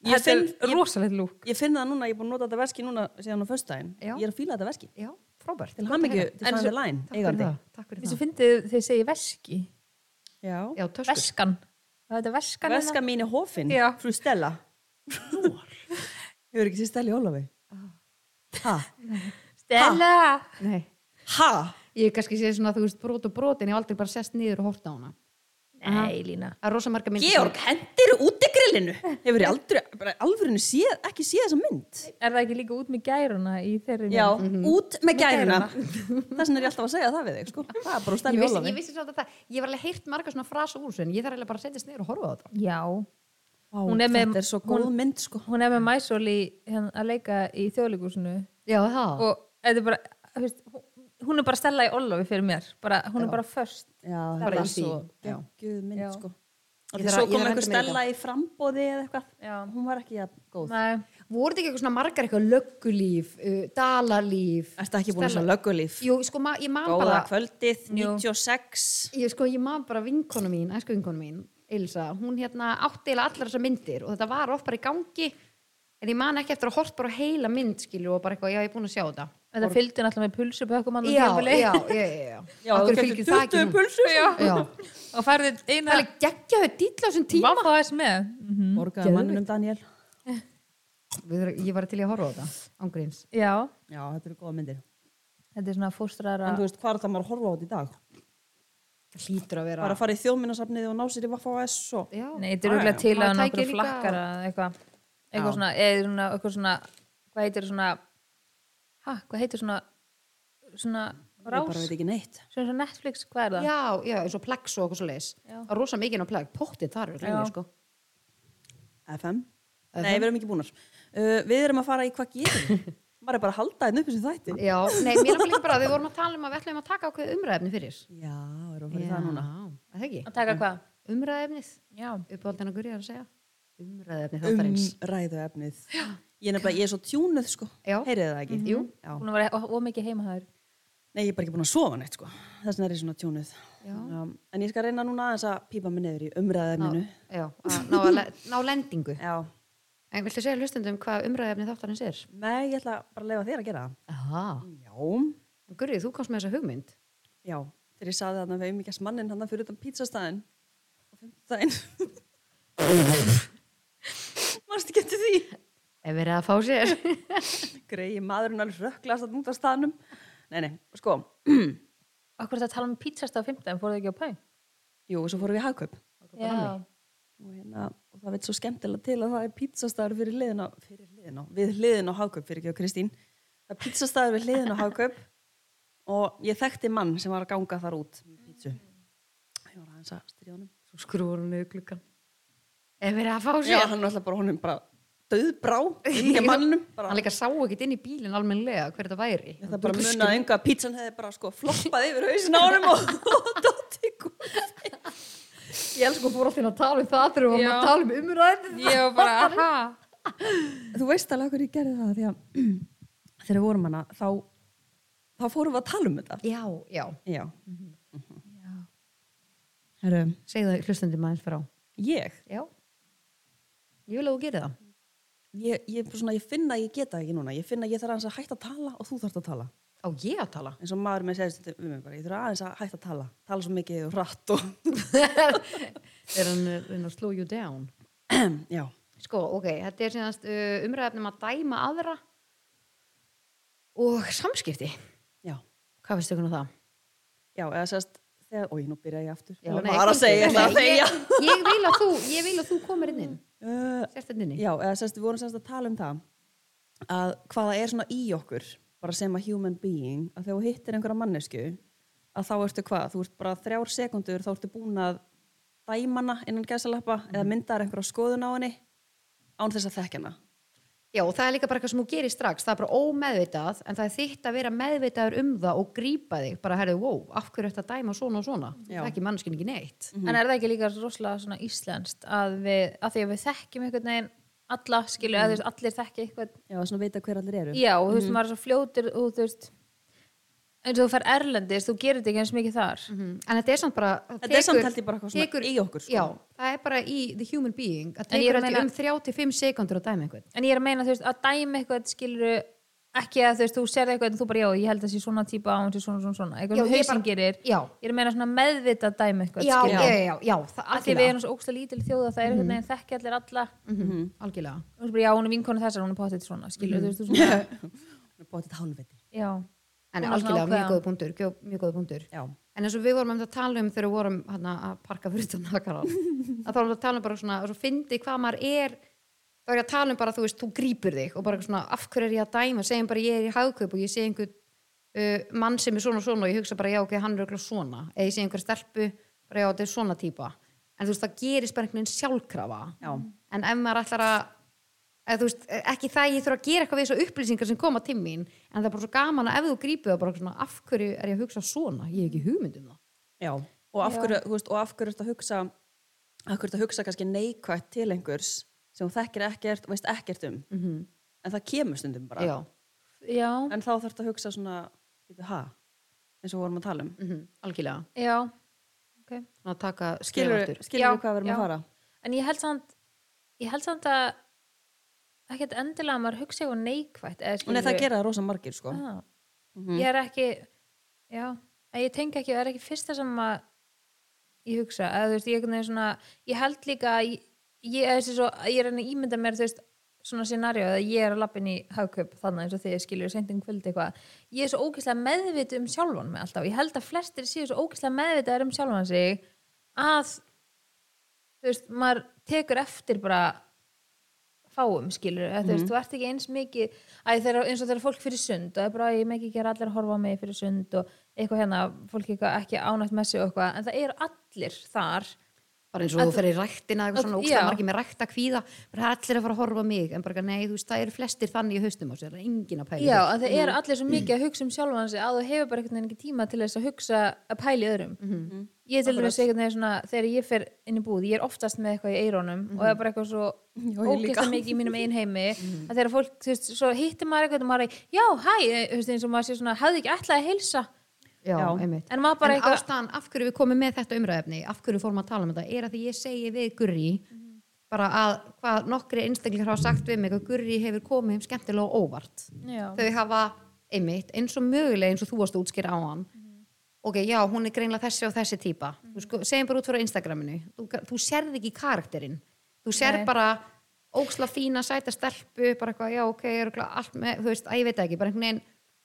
Ég Þetta finn- er ég- rosalegt lúk. ég finn það núna, ég er búin að nota þetta verski núna síðan á föstudaginn, Já. ég er að fíla þetta verski Já, frábært. til Gott að hamingju heyra. til En Find svo- the Line Takk fyrir eigandi það. Takk fyrir Eins og það. fyndið þeir segi veski. Já. Já, töskur. Veskan. Það er veskan. hérna? veska mín er hofin, Já. frú Stella hefur ekki sér Stella í Ólafi ha Stella. Nei. ha Ég hef kannski séð svona, þú veist, brot og brot en ég hef aldrei bara sest niður og horta á hana. Nei, Lína. Það er rosa marga myndir. sem- Georg, hendir útigrillinu hefur ég aldrei, bara alvörinu séð, ekki séð þessa mynd Er það ekki líka út með gæruna í þeirri? já, mynd? út með gæruna þess vegna er ég alltaf að segja það við þig sko. það er bara Ég stæmi vissi, ég Ólafi vissi svolítið það, ég var alveg heyrt marga svona frasa úr þessu en ég þarf eiginlega bara að setjast niður og horfa á þetta. Já. Vá, Hún er með- þetta er svo góð mynd sko. Hún er með Mæsól í, hérna, að leika í þjóðleikúsinu Já, það. og þetta er bara, þú veist, hún- hún er bara Stella í Ólofi fyrir mér. Bara, hún er bara först. já, Bara það í er svo því, já. geggjuð Já. mynd sko. og Ég þarf því að- svo kom ég þarf einhver að henda mér í stella í frambóði eða eitthvað, Já. hún var ekki að góð Nei. Voru þetta ekki eitthvað svona margar eitthvað löggulíf, uh, dalalíf? Ertu ekki búin að sjá Stella- löggulíf? Jú, sko, ma ég man Góða bara, kvöldið, Jú. 96 ég, sko, ég man bara vinkonu mín, æsku vinkonu mín, Elsa, hún hérna átti eiginlega allar þessar myndir og þetta var oft bara í gangi en ég man ekki eftir að hort bara á heila mynd, skilju, og bara eitthvað, já, ég er búin að sjá þetta. Þetta fylgdi náttúrulega með pulsupökkum hann Já, já, já, já, já. Já, þú Af hverju fylgir keftir það ekki 20 nú? pulsur Já. og færði Það er eina alveg geggjaðu dýtla á þessum tíma. Vaffa þess með mm -hmm. Borgaði mannum Daniel Við erum- Ég var til í að horfa á þetta, ángríns. Já, Já, þetta eru góða myndir þetta er svona fóstrara En þú veist, hvað er það maður að horfa á þetta í dag? Hlýtur að vera. Bara að fara í þjóðminnasafnið og ná sér í Vaffa og S og... Já. Nei, þetta er Já, auðvitað já. til Maður að tæki náttúrulega líka- flakkara eða eitthvað Já. eitthvað svona, eða svona, eitthvað svona hvað heitir svona ha, hvað heitir svona svona Ég bara rás, veit ekki neitt. svona svona Netflix, hvað er það? Já, já, eins og plex og eitthvað svo leis. Já. Það er rosa mikið á plex, pottið þar er Já. lengur, sko. FM? FM? Nei, við erum ekki búnar. Uh, við erum að fara í hvað gerum. (laughs) við? maður er bara að halda einn upp þessu þætti. Já, nei, mér er líka bara að við vorum að tala um að við ætlum að taka ákveð umræðefni fyrir. Já, erum að fara í það núna. Já, er það ekki? Að taka Mm. hvað? Umræðefnið, Já, uppáhaldin að gurja að segja. Um Umræðefni þáttarins. ræðu efnið. Ég er, nefnilega, ég er svo tjúnuð, sko. Já. Heyrið það ekki? Jú. Já. hún var ómikið heima þær Nei, ég er bara ekki búin að sofa neitt, sko. Þess vegna er ég svona tjúnuð. Já. Um, en ég skal reyna núna aðeins að pípa mig neyður í umræðu Ná, efninu. já, að ná, að le- ná lendingu. Já. En viltu segja hlustundum hvað umræðefni þáttarins er? Nei, ég ætla bara að leifa þér að gera það. Aha. Já. Gurri, þú komst með þessa hugmynd. Já, þegar ég saði þarna við umíkjast mannin (laughs) hann fyrir utan pítsastæðin og fimmtudaginn Ef verið að fá sér. greiði maðurinn alveg rökklast að út af staðnum nei, nei, sko, (clears throat) Akkur það tala um pítsast á fymta en fóruðu ekki á pæ? jú, svo fórum við í hagkaup Já. og, hérna, og það veit svo skemmtilega til að það er pizzastæður fyrir hliðin á, fyrir hliðin á, við hliðin á Hagkaup fyrir ekki á Kristín það er pizzastæður við hliðin á Hagkaup og ég þekkti mann sem var að ganga þar út með pizzu ég var aðeins að stríða honum (laughs) Svo skrúur hún niður klukkan. Ef verið að fá já, sér. hann var alltaf bara honum bara döðbrá inn í mannum bara, Hann líka sá ekkert inn í bílinn almennilega hver þetta væri. það bara munnaði enga að pizzan hefði bara sko floppað yfir hausin á honum og, og dotti Ég elsku að fór alltaf inn að tala um það þegar við varum Já. að tala um umræðin. Ég var bara, aha. þú veist alveg hvernig ég gerði það því að (clears throat) þegar við vorum hana þá, þá fórum við að tala um þetta Já, já. já, herru Segðu það hlustandi maður frá. Ég? Já. Ég vil að þú gerir það. Ég, ég, bara svona, ég finn að ég geta ekki núna. Ég finn að ég þarf aðeins að hætta að tala og þú þarfst að tala. Á ég að (laughs) tala. En svo maður með segist þetta við mig bara, ég þarf aðeins að hætta að tala. Tala svo mikið og rætt og... Er hann uh, reyna að slow you down? Já. Sko, ok, þetta er síðanst uh, umræðnum að dæma aðra og samskipti. Já. Hvað finnst ykkur um það? Já, eða segist, þegar... Ói, nú byrja ég aftur. Já, ég nei, var bara að komdu. segja þetta að Nei, þegja. (laughs) ég, ég, vil að þú, ég vil að þú komir inn inn Uh, Sérst þetta inn í já, eða segist, við vorum segist að tala um það að hvaða er svona í okkur, bara sem að human being, að þegar þú hittir einhverja mannesku, að þá ertu hvað? Þú ert bara þrjár sekundur, þá ertu búin að dæmana innan gæsalappa eða Mhm. myndar einhverja skoðun á henni án þess að þekkja hana. Já, og það er líka bara eitthvað sem þú gerir strax Það er bara ómeðvitað, en það er þitt að vera meðvitaður um það og grípa þig bara herðu, wow, af hverju þetta dæma svona og svona Já. Það er ekki mannskinn ekki neitt En er það ekki líka rosalega svona íslenskt að, við, að því að við þekkjum einhvern veginn alla, skilju, mm. veist, allir þekki einhvern Já, svona vita hver allir eru. Já, og þú veist, maður er svo fljótur og þú veist eins og þú fer erlendis, þú gerir þetta ekki eins mikið þar En þetta er samt bara Mhm. Þetta er samt held ég bara eitthvað svona í okkur, sko. Já, það er bara í the human being að En ég er tekur að þetta um 35 sekundur að dæma einhvern En ég er að meina, þú veist, að dæmi eitthvað skilur ekki að þú veist, þú serði eitthvað en þú bara, já, ég held að sé svona típa á hún sé svona, svona, svona, eitthvað Já, sem ég hausinn bara- gerir Já. Ég er að meina svona meðvitað dæmi eitthvað, Já, já, skilur já, já, það Af því við erum svo ókslega lítil þjóða, það er einhvern veginn þekki allir alla Mhm, Algjörlega og þú veist bara, já, hún er vinkonu þessar, hún er potið svona, skilur, þú veist, þú svona Hún er bótið hálfviti. Já, En Hún er svona algjörlega, mjög ákveðin. góða punktur, gjó- mjög góða punktur. Já. En eins og við vorum um það að tala um þegar við vorum hana, að parka fyrir utan nakaran, að þá vorum við að tala um bara svona, og svo fyndi hvað maður er, þá er ég að tala um bara, þú veist, þú grýpur þig og bara eitthvað svona, af hverju er ég að dæma, segjum bara ég er í hagkaup og ég sé einhver uh, mann sem er svona og svona og ég hugsa bara, já, ok, hann er eitthvað svona, eða ég sé einhver stelpu, bara já, þetta er svona típa. En þú veist, það gerist bara einhvern veginn sjálfkrafa. Já. En ef maður ætlar að eða þú veist, ekki það að ég þurfa að gera eitthvað við þessu upplýsingar sem koma til mín en það er bara svo gaman að ef þú grípið það bara svona, af hverju er ég að hugsa svona, ég hef ekki hugmynd um það Já. Og af hverju, þú veist, og af hverju ertu að hugsa, af hverju ertu að hugsa kannski neikvætt til einhvers sem þú þekkir ekkert og veist ekkert um. -hmm. En það kemur stundum bara. Mhm, já, já, En þá þarftu að hugsa svona, býtu, ha? Eins og við vorum að tala um. mm algjörlega já okay. svona að taka skrif Skilur, aftur skilur Já, við hvað við erum já. að fara? En ég held samt ég held samt að ekkert endilega að maður hugsa eitthvað neikvætt eða Og nei, það skilurðu- gera það rosa margir, sko. ah. Ég er ekki já, en ég tengi ekki, það er ekki fyrsta sem að ég hugsa eða, þú veist, ég, einhvern veginn svona, ég held líka að ég, ég, eða þessi svo, ég er enn að ímynda mér þú veist, svona scenarió að ég er að lappin í hagkaup þannig eins og þegar ég skilur seint um kvöld eitthvað, ég er svo ógeðslega meðvitið um sjálfan mig alltaf, ég held að flestir séu svo ógeðslega meðvitaðar um sjálfan sig að þú veist, maður tekur eftir bara fáum, skilur eða, þú veist, þú ert ekki eins mikið æ, þeir, eins og þegar fólk fyrir sund og það er bara ég megi ekki að allir að horfa á mig fyrir sund og eitthvað hérna, fólk eitthvað ekki ánætt með sig og eitthvað, en það eru allir þar bara eins og þú fer í ræktina eitthvað svona Ok, ógstæða já. margir með rækta kvíða bara það er allir að fara að horfa á mig en bara nei, þú veist, það eru flestir þannig í haustum á sér það er engin að pæla í já, því. að það eru allir svo mikið að hugsa um sjálfan sig að þú hefur bara einhvern veginn ekki tíma til þess að hugsa að pæli öðrum ég til dæmis einhvern veginn svona þegar ég fer inn í búð, ég er oftast með eitthvað í eirónum og það er bara eitthvað svo Já, ég líka. ógeðslega mikið í mínum einn heimi að þegar fólk, þú veist, svo hittir maður eitthvað og maður er, já, hæ, eh, þú veist, eins og maður sé svona hafði ekki alltaf að heilsa já, Já. einmitt En maður bara en eitthvað- ástæðan af hverju við komum með þetta umræðefni af hverju fórum að tala um þetta er að því ég segi við Gurri Mhm. bara að hvað nokkri einstaklingar hafa sagt við mig að Gurri hefur komið um skemmtilega og óvart já, þau hafa einmitt eins og mögulega eins og þú varst að útskýra á hann Mhm. ok, já, hún er greinlega þessi og þessi típa þú sko, segjum bara út frá Instagraminu þú, þú sérð ekki karakterinn þú sérð Nei. bara óksla fína, sæta stelpu bara eitthvað, já ok, er allt með þú veist, að ég veit það ekki, bara einhvern veginn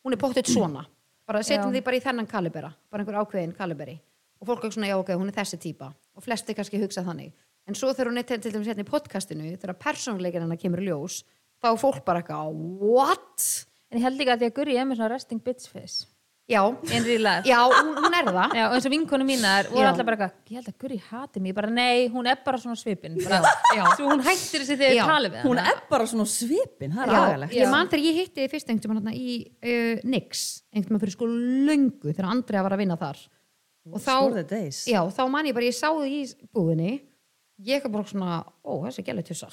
hún er pottitt svona, bara setjum Já. því bara í þennan kalibera, bara einhver ákveðin kaliberi og fólk er svona, já ok, hún er þessi típa og flesti kannski hugsa þannig, en svo þegar hún er til, til dæmis hérna í podcastinu, þegar persónleikin hennar kemur í ljós, þá er fólk bara eitthvað, what? En ég held líka að því að Guri er með svona resting bitch face (laughs) Já, in real life. já, hún, hún er það Já, og eins og vinkonu mínar voru Já. alltaf bara eitthvað, ég held að Guri hati mig, ég bara nei, hún er bara svona svipin. Bara, já. Svo hún hættir þessi þegar Já. ég tala við Hún hana. er bara svona svipin, það er Já, agalegt. ég man þegar ég hitti þið fyrst einhvern veginn í uh, Nix, einhvern veginn fyrir sko löngu þegar Andrea var að vinna þar og Skorðið þá, days. já, þá man ég bara ég sá þið í búðinni ég er bara svona, ó, þessi gæli tussa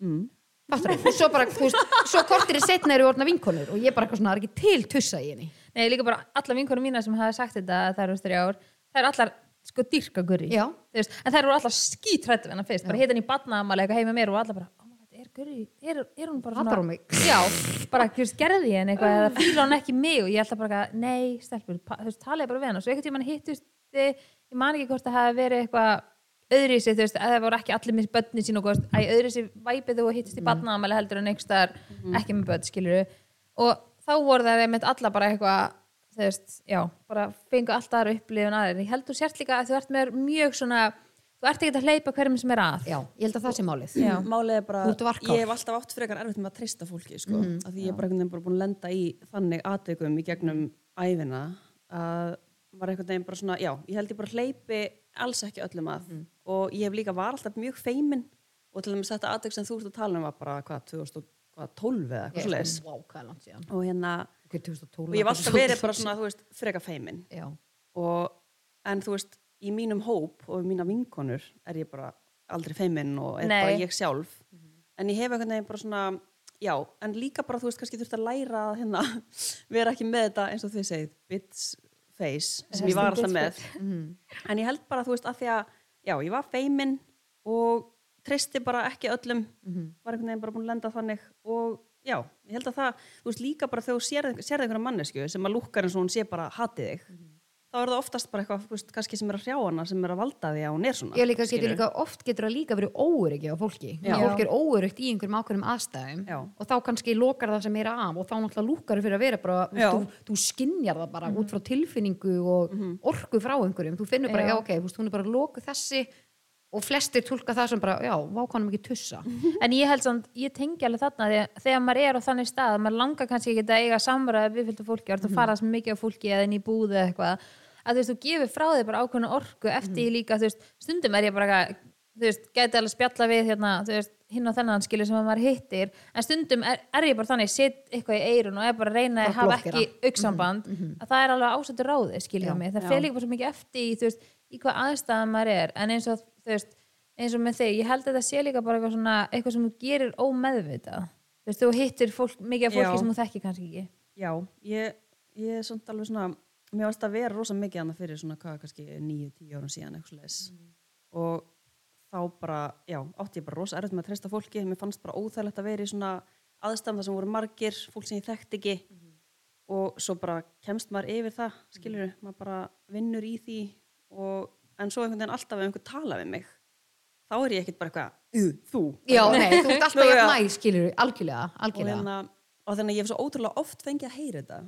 Mm. fattur og svo bara, þú veist, svo kortir þið setna eru orðna vinkonur og ég bara eitthvað svona, það er ekki til tussa í henni Nei, líka bara alla vinkonu mínar sem hafa sagt þetta að það eru þrjár, það eru allar sko dyrka Guri. Já. Þú Veist, en það eru allar skítrætt við hana fyrst, bara hitt henni í badnaðamæli eitthvað heima með mér og allar bara, oh my god, er Guri, er, er hún bara Hatar hún mig? Já, bara, þú veist, gerði ég henni eitthvað eða fíla hún ekki mig og ég held að bara, eitthvað, nei, stelpur, pa- þú veist, talaði bara við hana og svo einhvern tímann hittust, þið, ég man ekki hvort það hafi verið eitthvað öðri sér, þú veist, að það voru ekki allir með börnin sín og góðst, æ, öðri sér væpið og hittist í badnaðamæli heldur en einhverstaðar ekki með börn, skilur og þá voru það einmitt alla bara eitthvað þú veist, já, bara fengu alltaf aðra upplifun aðeins, ég held þú sért líka að þú ert með mjög svona, þú ert ekki að hleypa hverjum sem er að já, ég held að það sé málið Já. Málið er bara, Þú ert varkár. ég hef alltaf átt frekar erfitt með að treysta fólki, sko. Mm Af því ég er bara einhvern veginn bara búin að lenda í þannig aðtökum í gegnum æfina að var einhvern veginn bara svona, já, ég held ég bara hleypi alls ekki öllum að og ég hef líka var alltaf mjög feimin og til dæmis þetta aðtök sem þú ert að tala um var bara, hvað, 2012 eða eitthvað Ég er svoleiðis. svona, wow, hvað er langt síðan Og hérna, ok, 2012 og ég hef alltaf verið bara svona, þú veist, frekar feimin já, og, en þú veist, í mínum hóp og í mína vinkonur er ég bara aldrei feiminn og er Nei. bara ég sjálf en ég hef einhvern veginn bara svona já, en líka bara þú veist, kannski þurft að læra að hérna, (laughs) vera ekki með þetta eins og þið segið, bitch face sem ég var alltaf með en ég held bara, þú veist, að því að já, ég var feiminn og treysti bara ekki öllum var einhvern veginn bara búin að lenda þannig og já, ég held að það, þú veist, líka bara þegar þú sérð sér einhverja mannesku sem að lúkkar eins og hún sé bara hatið þig þá er það oftast bara eitthvað, þú veist, kannski sem er að hrjá hana sem er að valda því að hún er svona ég líka, getur skilurðu. líka, oft getur það líka verið óöryggi á fólki, Já. fólk er óöryggt í einhverjum ákveðnum aðstæðum Já. og þá kannski lokar það sem er af og þá náttúrulega lúkar fyrir að vera bara, þú Já. Mhm. veist, þú, þú skinjar það bara út frá tilfinningu og orku frá einhverjum, þú finnur bara, já, Já. ok, þú veist, hún er bara lokuð þessi og flestir tólka það sem bara, já, vákonum ekki (laughs) tussa (laughs) en ég held samt, ég tengi alveg þarna þegar, þegar maður er á þannig stað, maður langar kannski ekki að eiga samræði við fylgtu fólki, orðið að Mhm. fara sem mikið á fólki eða inn í búðu eða eitthvað að þú veist, þú gefur frá þig bara ákveðna orku Mhm. eftir mm. líka, þú veist, stundum er ég bara eitthvað, þú veist, gæti alveg spjalla við hérna, þú veist, hinn og þennan skilur sem að maður hittir, en stundum er, er ég bara þannig, set eitthvað í eirun og er bara að reyna að Bara hafa blokkera. ekki auksamband, að það er alveg ásættu ráði, Mhm, Já, skilja mig, já. það fer líka bara svo mikið eftir í, þú veist, í hvað aðstæða maður er en eins og, þú veist, eins og með þig ég held að þetta sé líka bara eitthvað svona eitthvað sem þú gerir ómeðvitað þú veist, þú hittir fólk, mikið af fólki Já. sem þú þekkir kannski ekki Já, ég, ég er svona alveg svona, mér varst að vera rosa mikið annað fyrir svona hvað, kannski 9-10 árum síðan eitthvað leis og þá bara, já, átti ég bara rosa erfitt með að treysta fólki, mér fannst bara óþægilegt að vera í svona aðstæðum þar sem voru margir, fólk sem ég þekkti ekki og svo bara kemst maður yfir það, skilur maður bara vinnur í því og, en svo einhvern veginn alltaf ef einhver tala við mig, þá er ég ekkert bara eitthvað, "Ugh, þú, já, (laughs) nei, þú ert alltaf Nú, jafn já. næ, skilur við, algjörlega, og, algjörlega hérna, og þannig að ég hef svo ótrúlega oft fengið að heyra þetta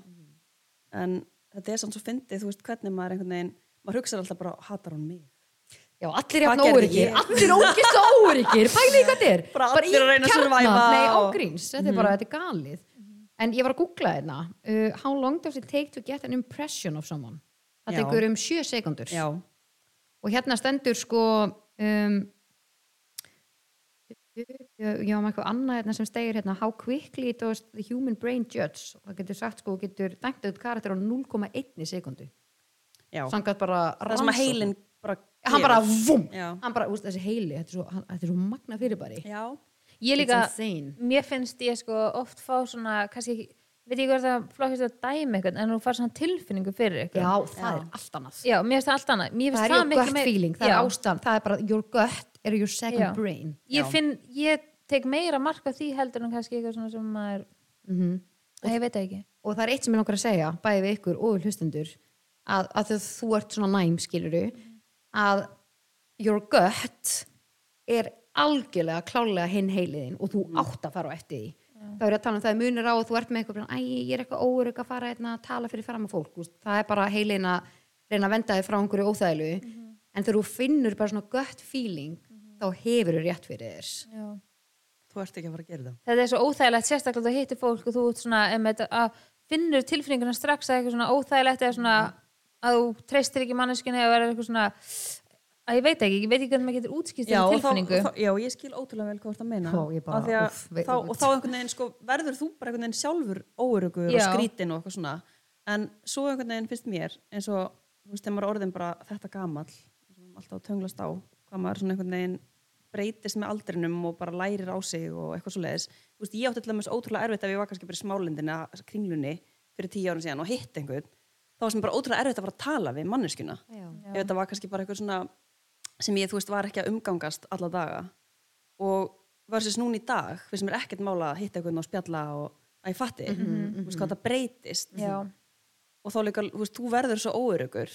en þetta er samt svo fyndið þú veist hvernig maður einhvern veginn maður hugsa alltaf bara, hatar hún mig Já, Hvað allir jafn gerði óryggir, ég? allir ógist og óryggir, pælið í hvað þetta er. Bara allir í að reyna að kjarna. survive Nei, og- Mhm. ágríns, þetta er bara, þetta er galið. En ég var að googla hérna, uh, how long does it take to get an impression of someone? Það Já. tekur um sjö sekundur. já, Og hérna stendur sko, um, já, maður eitthvað annað hérna sem stegir hérna, how quickly does the human brain judge? Og það getur sagt sko, getur dæmt auðvitað karakter á 0,1 sekundu. já. Sangat bara það sem að rannsókn. heilin bara Hann bara, gerir. vum, Já. hann bara, úst, þessi heili, þetta er svo, hann, þetta er svo magna fyrirbæri. já, ég líka, It's insane. mér finnst ég sko oft fá svona, kannski ekki veit ég hvað það flokkist að dæmi eitthvað en þú fær svona tilfinningu fyrir Já, eitthvað það er allt annað. já mér finnst það allt annað Mér það finnst er your miklu gut meir- feeling, það er Já. ástand, það er bara your gut er your second Já. brain. Já. ég finn, ég tek meira marka því heldur en kannski eitthvað svona sem maður Mhm. Æ, ég veit það ekki Og það er eitt sem ég langar að segja, bæði við ykkur og við hlustendur, að, að þegar þú ert svona næm, skiluru, að your gut er algjörlega klálega hinn heiliðin og þú átt að fara á eftir því þá er ég að tala um það er munur á og þú ert með eitthvað bara, æ, ég er eitthvað óurug að fara einna að tala fyrir fram að fólk þú veist, það er bara heilin að reyna að venda þig frá einhverju óþægilu en þegar þú finnur bara svona gött feeling þá hefur þú rétt fyrir þér Já. Þú ert ekki að fara að gera það. þetta er svo óþægilegt sérstaklega þú hittir fólk og þú ert svona einmitt, að finnur tilfinninguna strax að eitthvað svona óþægilegt eða svona Mhm. að þú treystir ekki manneskinni eða er eitthvað svona að ég veit ekki, ég veit ekki hvernig maður getur útskýrt Já, þessa og þá, tilfinningu þá, já, ég skil ótrúlega vel hvað þú ert að meina. Já, ég bara, Af því að úff, veit- þá, og þá einhvern veginn, sko, verður þú bara einhvern veginn sjálfur óörugur og Já. skrítin og eitthvað svona. En svo einhvern veginn finnst mér, eins og, þú veist, þegar maður er orðin bara þetta gamall, sem alltaf að tönglast á, hvað maður svona einhvern veginn breytist með aldrinum og bara lærir á sig og eitthvað svo leiðis. Þú veist, ég átti til dæmis ótrúlega erfitt ef ég var kannski bara í smálindina, kringlunni, fyrir tíu árum síðan og hitt einhvern, þá var sem bara ótrúlega erfitt að fara að tala við manneskuna Já. ef þetta var kannski bara eitthvað svona sem ég, þú veist, var ekki að umgangast alla daga og versus núna í dag við sem er ekkert mála að hitta einhvern og spjalla og að ég fatti, Mhm, þú veist hvað það breytist Já. og þá líka, þú veist, þú verður svo óörugur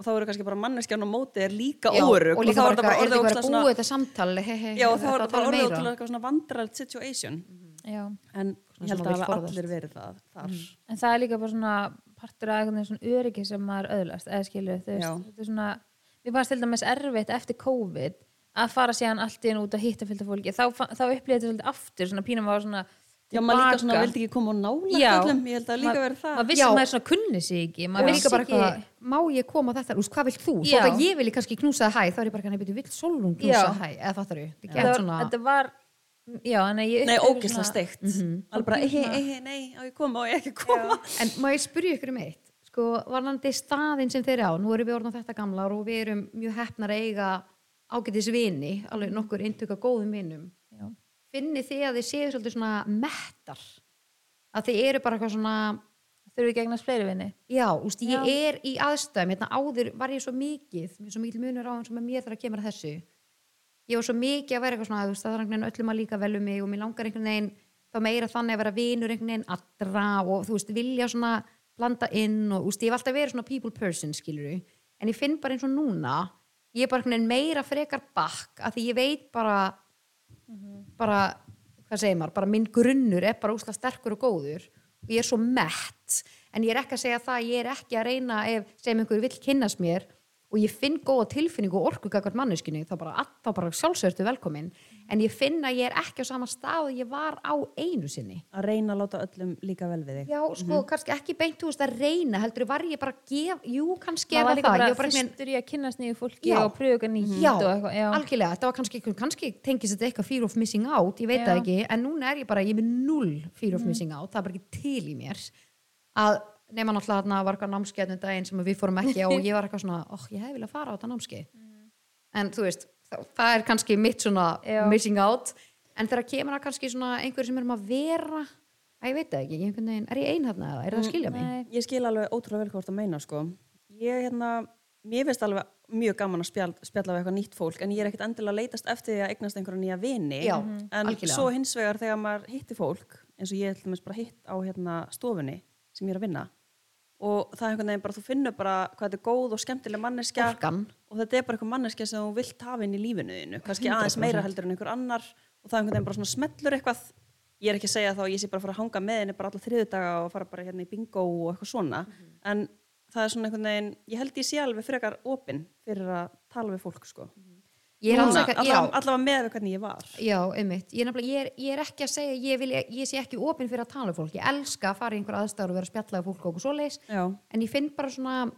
og þá eru kannski bara manneskjan og mótið er líka Já, óörug og líka þá bara, bara, orðið er ógeðslega þetta bara búið þetta samtal he, he, já, og þá er þetta þetta bara orðið til eitthvað svona vandrarlegt situation Mhm. Mhm. Já. en ég sem held maður að vill hafa forðast. Mhm. allir verið það þar en það er líka bara svona partur af einhvern veginn svona öryggi sem maður öðlast eða skilur þú Já. veist þetta er svona, mér fannst til dæmis erfitt eftir COVID að fara síðan allt inn út að hitta fylgta fólki þá, fa- þá upplýði þetta svolítið aftur svona pínum var svona já, maður líka tilbaka. svona vildi ekki koma á nála Já. öllum, ég held að líka Ma- verið það maður vissi Já. að maður svona kunni sig ekki og maður líka vissi bara ekki eitthvað, má ég koma á þetta úst, hvað vilt þú, Já. þótt að ég vilji kannski knúsa það hæ þá er ég bara kannar, betur, vill Solrún knúsa Já. það hæ eða fattar ég, þetta þetta var, er svona þetta var já, þannig að ég Nei, upplifði ógislega svona- steikt. Mhm. Alveg bara, ehi, ehi, nei, á ég að koma, á ég ekki að koma. En má ég spyrja ykkur um eitt? Sko, varnandi staðin sem þeir eru á, nú erum við orðin þetta gamlar og við erum mjög hefnar að eiga ágætis vini, alveg nokkur inntöka góðum vinum. Já. Finnið þið að þið séu svolítið svona mettar? Að þið eru bara eitthvað svona, þurfi ekki að eignast fleiri vinni já, úst, ég Já. er í aðstæðum, hérna áður var ég svo mikið, mér er svo mikil munur á hann sem er mér þarf að kemur að þessu. Ég var svo mikið að vera eitthvað svona, þú veist, það er einhvern veginn öllum að líka vel um mig og mér langar einhvern veginn, þá meira þannig að vera vinur einhvern veginn allra og þú veist, vilja svona blanda inn og, þú veist, ég hef alltaf verið svona people person, skilur en ég finn bara eins og núna, ég er bara einhvern veginn meira frekar bakk, af því ég veit bara, bara, hvað segir maður, bara minn grunnur er bara úsla sterkur og góður og ég er svo mett, en ég er ekki að segja það, ég er ekki að reyna ef sem einhver vill kynnast mér og ég finn góða tilfinningu og orku gagvart manneskinu, þá bara, þá bara sjálfsvertu velkomin, en ég finn að ég er ekki á sama stað og ég var á einu sinni. Að reyna að láta öllum líka vel við þig. Já, sko, Mhm. kannski ekki beint, þú veist, að reyna, heldur, var ég bara að gef, jú, kannski var maður var það, líka bara ég var bara einhvern fyrstur í að kynnast nýju fólki Já. og pröfu eitthvað nýtt já, og Mm, eitthvað já. algjörlega, þetta var kannski kannski tengist þetta eitthvað fear of missing out ég veit Já. Mm. það ekki, en núna er ég bara ég er með null fear of missing out, það er bara ekki til í mér að nema náttúrulega þarna var eitthvað námskeiðnum daginn sem við fórum ekki á og ég var eitthvað svona, óh, ég hef viljað fara á þetta námskeið en þú veist, það, það er kannski mitt svona Mm. Já. missing out en þegar kemur það kannski svona einhver sem er um að vera að ég veit það ekki, ég einhvern veginn, er ég ein þarna eða er það að skilja mig? Nei. Ég skil alveg ótrúlega vel hvað það meina, sko. Ég, hérna, mér finnst alveg mjög gaman að spjall, spjalla við eitthvað nýtt fólk, en ég er ekkit endilega að leitast eftir því að eignast einhverja nýja vini. Já, en algjörlega. svo hins vegar þegar maður hittir fólk, eins og ég ætlum bara hitt á hérna, stofunni sem ég er að vinna, og það er einhvern veginn bara, þú finnur bara hvað þetta er góð og skemmtileg manneskja. Orkan. og þetta er bara eitthvað manneskja sem þú vilt hafa inn í lífinu þínu, kannski aðeins meira heldur en einhver annar og það er einhvern veginn bara svona smellur eitthvað ég er ekki að segja þá að ég sé bara að fara að hanga með henni bara alla þriðudaga og fara bara hérna í bingo og eitthvað svona, en það er svona einhvern veginn, ég held ég sé alveg frekar opinn fyrir að tala við fólk sko Ég er alls Núna, ekki- já. allavega, allavega með við hvernig ég var Já, einmitt. Ég er, nefnilega- ég er, ég er ekki að segja, ég, vil, ég sé ekki opinn fyrir að tala við fólk. Ég elska að fara í einhver aðstæður og vera að spjalla við fólk og okkur svoleiðis. Já, En ég finn bara svona,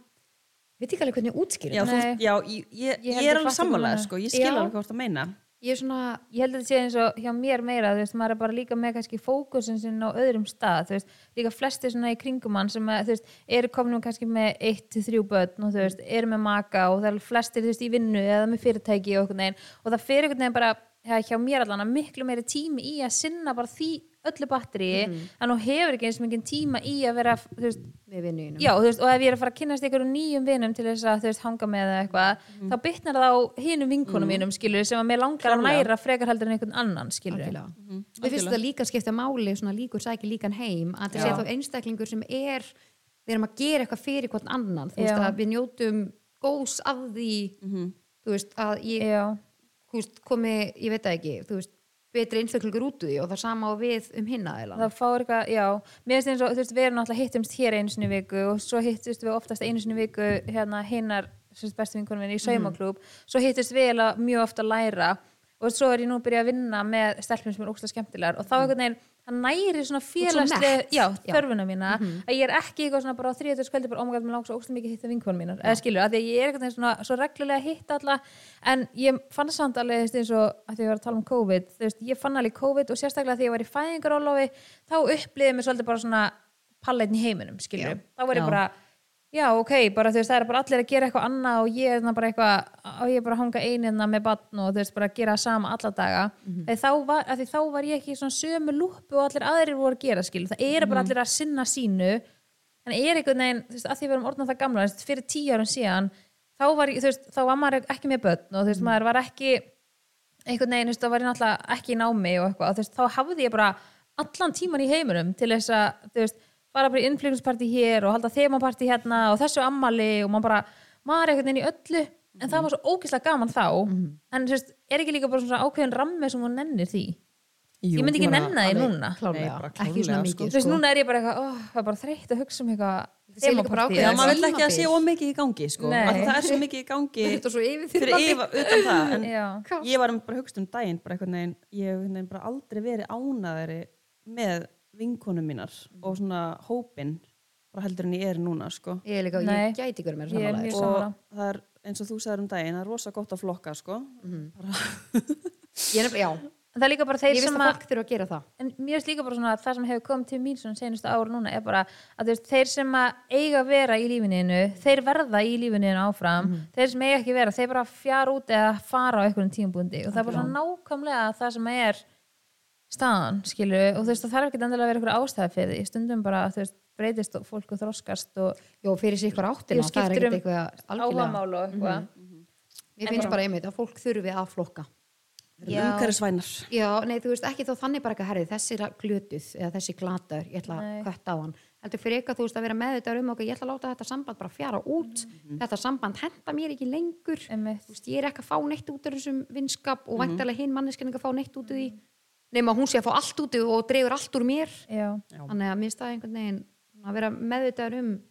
við ekki alveg hvernig ég útskýr já, þetta. þú, Nei. já ég, ég, Ég ég, held ég er alveg fatta hvað sammálaður meinar. sko, ég Já. skil alveg hvað það meina Ég er svona, ég held að þetta sé eins og hjá mér meira þú veist, maður er bara líka með kannski fókusin sinn á öðrum stað, þú veist, líka flesti svona í kringum hann sem að, þú veist, eru komin kannski með eitt til þrjú börn og þú veist eru með maka og það er flestir, þú veist, í vinnu eða með fyrirtæki og okkur neginn og það fyrir okkur neginn bara, ja, hjá mér allan að miklu meiri tími í að sinna bara því öllu batteri, en hún hefur ekki eins mikið tíma í að vera, þú veist með vinnuðinum. Já, þú veist, og ef ég er að fara að kynnast einhverjum nýjum vinum til þess að þú veist, hanga með eða eitthvað Mhm. þá bitnar það á hinum vinkonum mínum skilur, sem að mér langar að Klárlega. næra frekar heldur en einhvern annan skilur Algjörlega. Mér finnst þetta líka að skipta máli, svona líkur sækir líkan heim, að þetta sé Já. þá einstaklingur sem er, við erum að gera eitthvað fyrir hvort annan. Þú veist Já. að við njótum góðs af því, þú veist, að ég Já, þú veist, komi, ég veit það ekki þú veist, betri einstaklingur út úr því og það sama á við um hinna eða það fáir eitthvað, já mér finnst eins og, þú veist, við erum náttúrulega hittumst hér einu sinni í viku og svo hittust við oftast einu sinni í viku hérna hinnar, sem sagt, bestu vinkunum Mhm. minni í saumaklúb, svo hittust við eiginlega mjög ofta að læra og svo er ég nú að byrja að vinna með stelpum sem er ógsta skemmtilegar Mhm. og þá einhvern veginn, það næri svona félagslega, nett. já, Já. þörfuna mína Mhm. að ég er ekki eitthvað svona bara á þriðjötu skvöldi bara "Oh ómagað með langs og ógsta mikið að hitta vinkunum mínar eða skilur, að því að ég er eitthvað svona svo reglulega að hitta alla en ég fann samt alveg þú veist, eins og að því að ég var að tala um COVID þú veist, ég fann alveg COVID og sérstaklega því að ég var í fæðingarólofi þá upplýði mér svolítið bara svona palleitn í heiminum, skilur þá var ég Já. bara, já ok, bara þú veist það er bara allir að gera eitthvað annað og ég er þarna bara eitthvað og ég er bara að hanga einina með batn og þú veist bara að gera sama alla daga mm þá var, af því þá var ég ekki í svona sömu lúpu og allir aðrir voru að gera skil það eru bara allir að sinna sínu en er einhvern veginn, þú veist, að því við erum orðnað það gamla þú veist, fyrir tíu árum síðan þá var, ég- þú veist, þá var maður ekki með börn og þú veist, maður var ekki einhvern veginn, þú veist, þá var ég náttúrulega ekki í námi og eitthvað, og þú veist, þá hafði ég bara allan tíman í heiminum til þess að þú veist, fara bara í innflýgningsparti hér og halda þemaparti hérna og þessu ammali og maður bara, maður er einhvern veginn í öllu en það var svo ógeðslega gaman þá Mhm. en þú veist, er ekki líka bara svona ákveðin rammi sem hún nennir því Jú, ég myndi ekki bara nenna því alveg núna klárlega, sko. Nei, bara ekki svona klárlega, mikið þú veist, núna er ég bara eitthvað, ó, það er bara þreytt að hugsa um eitthvað sé líka bara þemapartí ákveðið sko. Já, eða að maður Tímabil. vil ekki að sé of mikið í gangi, sko. Nei. Af því Það er svo mikið í gangi (laughs) Þetta er svo yfir fyrir yfa, utan það. En Já. ég var bara hugst um daginn, bara einhvern veginn, ég hef einhvern veginn bara aldrei verið ánaðari með vinkonum mínar og svona hópin, bara heldur en ég er núna, sko. ég er líka, Nei. ég gæti ykkur meira Ég er samanlega mjög- sko. Og sammála. það er, eins og þú sagðir um daginn, það er rosa gott að flokka, sko. ég er nefnilega, já, En það er líka bara þeir ég sem veist að fólk þurfa að gera það en mér finnst líka bara svona að það sem hefur komið til mín svona senustu ár núna er bara að þú veist, þeir sem að eiga að vera í lífininu þeir verða í lífininu áfram Mhm. þeir sem eiga ekki að vera, þeir bara fjara út eða fara á einhverjum tímabundi og það er bara svona nákvæmlega það sem er staðan, skilur, og þú veist það þarf ekki endilega að vera einhver ástæða fyrir því, stundum bara þú veist, breytist og fólk og þroskast og Jó, fyrir sér ykkur áttina, það Ég er skiptir ekkert um eitthvað algjörlega, áhagamál og eitthvað Mhm. ég finnst bara einmitt að fólk þurfi að flokka Já. Umhverfisvænar. Já, nei, þú veist, ekki þá þannig bara ekki að herri, þessi er glötuð eða þessi glatar, ég ætla að kötta á hann. Heldur fyrir eitthvað, þú veist, að vera meðvitað um okkur, ég ætla að láta þetta samband bara fjara út, Mhm. þetta samband henda mér ekki lengur, Einmitt. þú veist, ég er ekki að fá neitt út úr þessum vinskap Mhm. og væntalega hinn manneskinn ekki að fá neitt út úr því, nema hún sé að fá allt út úr og dregur allt úr mér. Já. Þannig að mér staði einhvern veginn að vera meðvitað um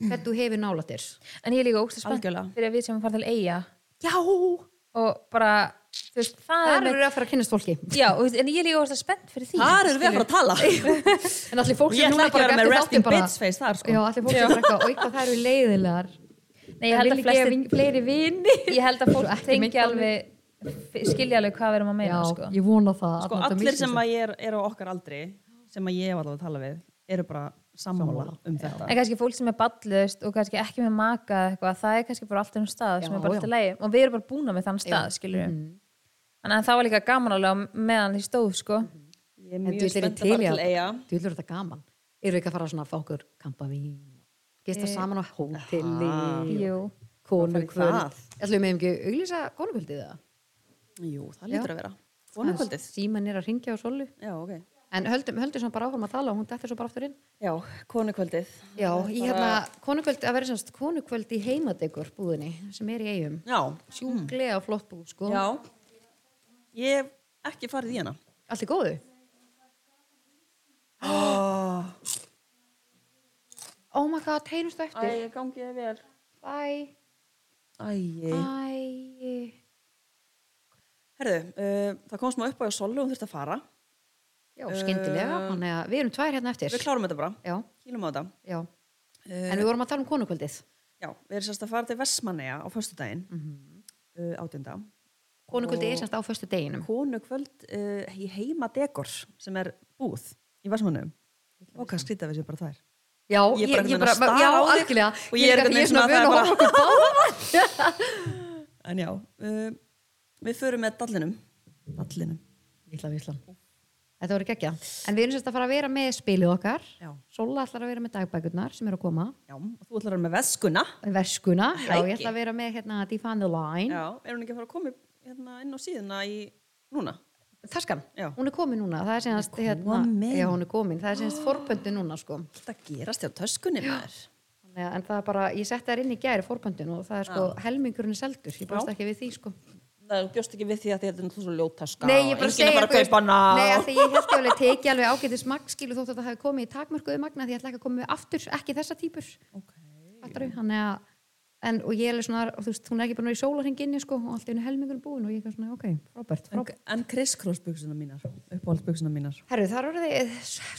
hvernig þú hefur nálatir. en ég er líka ógst spennt Algjörlega. fyrir að við sem að fara til eiga Já! og bara, þú veist, það, Það er eru að fara að kynnast fólki. Já, og þú veist, en ég er líka ógst spennt fyrir því Þar erum við að fara að tala. En allir fólk Ég sem ætla ekki núna að bara vera með eftir resting þáttinn bara- bitch face þar, sko. Já, allir fólk sem bara eitthvað, og eitthvað það eru leiðilegar Nei, ég held Það að vilja flestir gefa vin- fleiri vini ég held að fólk ekki tengi meint alveg skilja alveg hvað við erum að Já, meina sko. ég vona það Sko, allan þetta allir misskilning. sem að ég er, er á okkar aldri, sem að ég hef alveg að tala við, eru bara sammála um þetta. en kannski fólk sem er ballust og kannski ekki með maka eða eitthvað, það er kannski bara allt um stað sem Já, er bara já. Mhm. alltaf leið og við erum bara búna með þann stað skilur við þannig að það var líka gaman alveg á meðan því stóð sko. Ég er En mjög dullir spennt til að fara í til eiga. að Dullir þetta gaman Eru ekki að fara svona að fá okkur kampavín Eh. Gista saman á hóteli Jú. Það. Konukvöld Ætlum við ekki auglýsa konukvöldið það? Jú, það lítur að vera. Vonumkvöldið. Síman er að ringja á solu Já, ok. En höldum, höldum svona bara áfram að tala og hún dættir svo bara aftur inn Já, konukvöldið. Já, í hérna konukvöld að vera semst konukvöld í heimadegur búðinni sem er í eigum Já, Sjúklega flott bú, sko já. Ég hef ekki farið í hana. Allt í góðu? (gasps) Oh my god, heyrumstu eftir gangi þið vel. Bye Æ, Æ herðu, uh, það kom smá upp á ég solu og hún þurfti að fara. Já, skyndilega, þannig að Ehm. við erum tvær hérna eftir. Við klárum þetta bara. Já, Kýlum á þetta. Uh, já. en við vorum að tala um konukvöldið. Já, við erum sérst að fara til Vestmanneja á föstudaginn, mm -hmm. uh, átjönda. Konukvöldið er semst á föstu deginum. Konukvöld uh, í heima dekor sem er búð í Vestmannejum. Og hvað skrýta við sér bara þær? Já, Ég er bara einhvern veginn að stara já, á þig algjörlega. og ég er líka- einhvern ég veginn er svona svona vöna að að það horfa okkur báða. En já, uh, við förum með dallinum. Dallinum. Vítla, vítla. Þetta voru geggja. En við erum semst að fara að vera með spilið okkar. Já. Sola ætlar að vera með dagbækurnar sem eru að koma. Já, og þú ætlar að vera með veskuna. Verskuna. Já, Hæki. ég ætla að vera með hérna Define the Line. Já, er hún ekki að fara að koma upp, hérna, inn á síðuna í núna? Taskan. Já. Hún er komin núna. Það er semst, hérna, komin. já, hún er komin. Það er semst forpöndu núna, sko. Þetta gerast hjá töskunni maður. Þannig að, en það er bara, ég setti þær inn í gæri fórpöndin og það er sko helmingurinn er seldur, ég bást ekki við því sko. það þú bjóst ekki við því að þetta er náttúrulega svona ljótaska Nei, ég bara segja segja þú bara að veist, kaupa hana Nei, af því ég held ég alveg teki alveg ágætis magn skilu þótt að það hefði komið í takmörkuðu magna því ég ætla ekki að koma með aftur, ekki þessa típur Fattaru, hann er að En, og ég er alveg svona, og þú veist, hún er ekki bara í sólarhenginni sko, og allt í henni helmingur búin og ég er svona, ok, Robert, Robert. En, en kriskrossbuksuna mínar, uppáhaldsbuksuna mínar Herru, það eru þið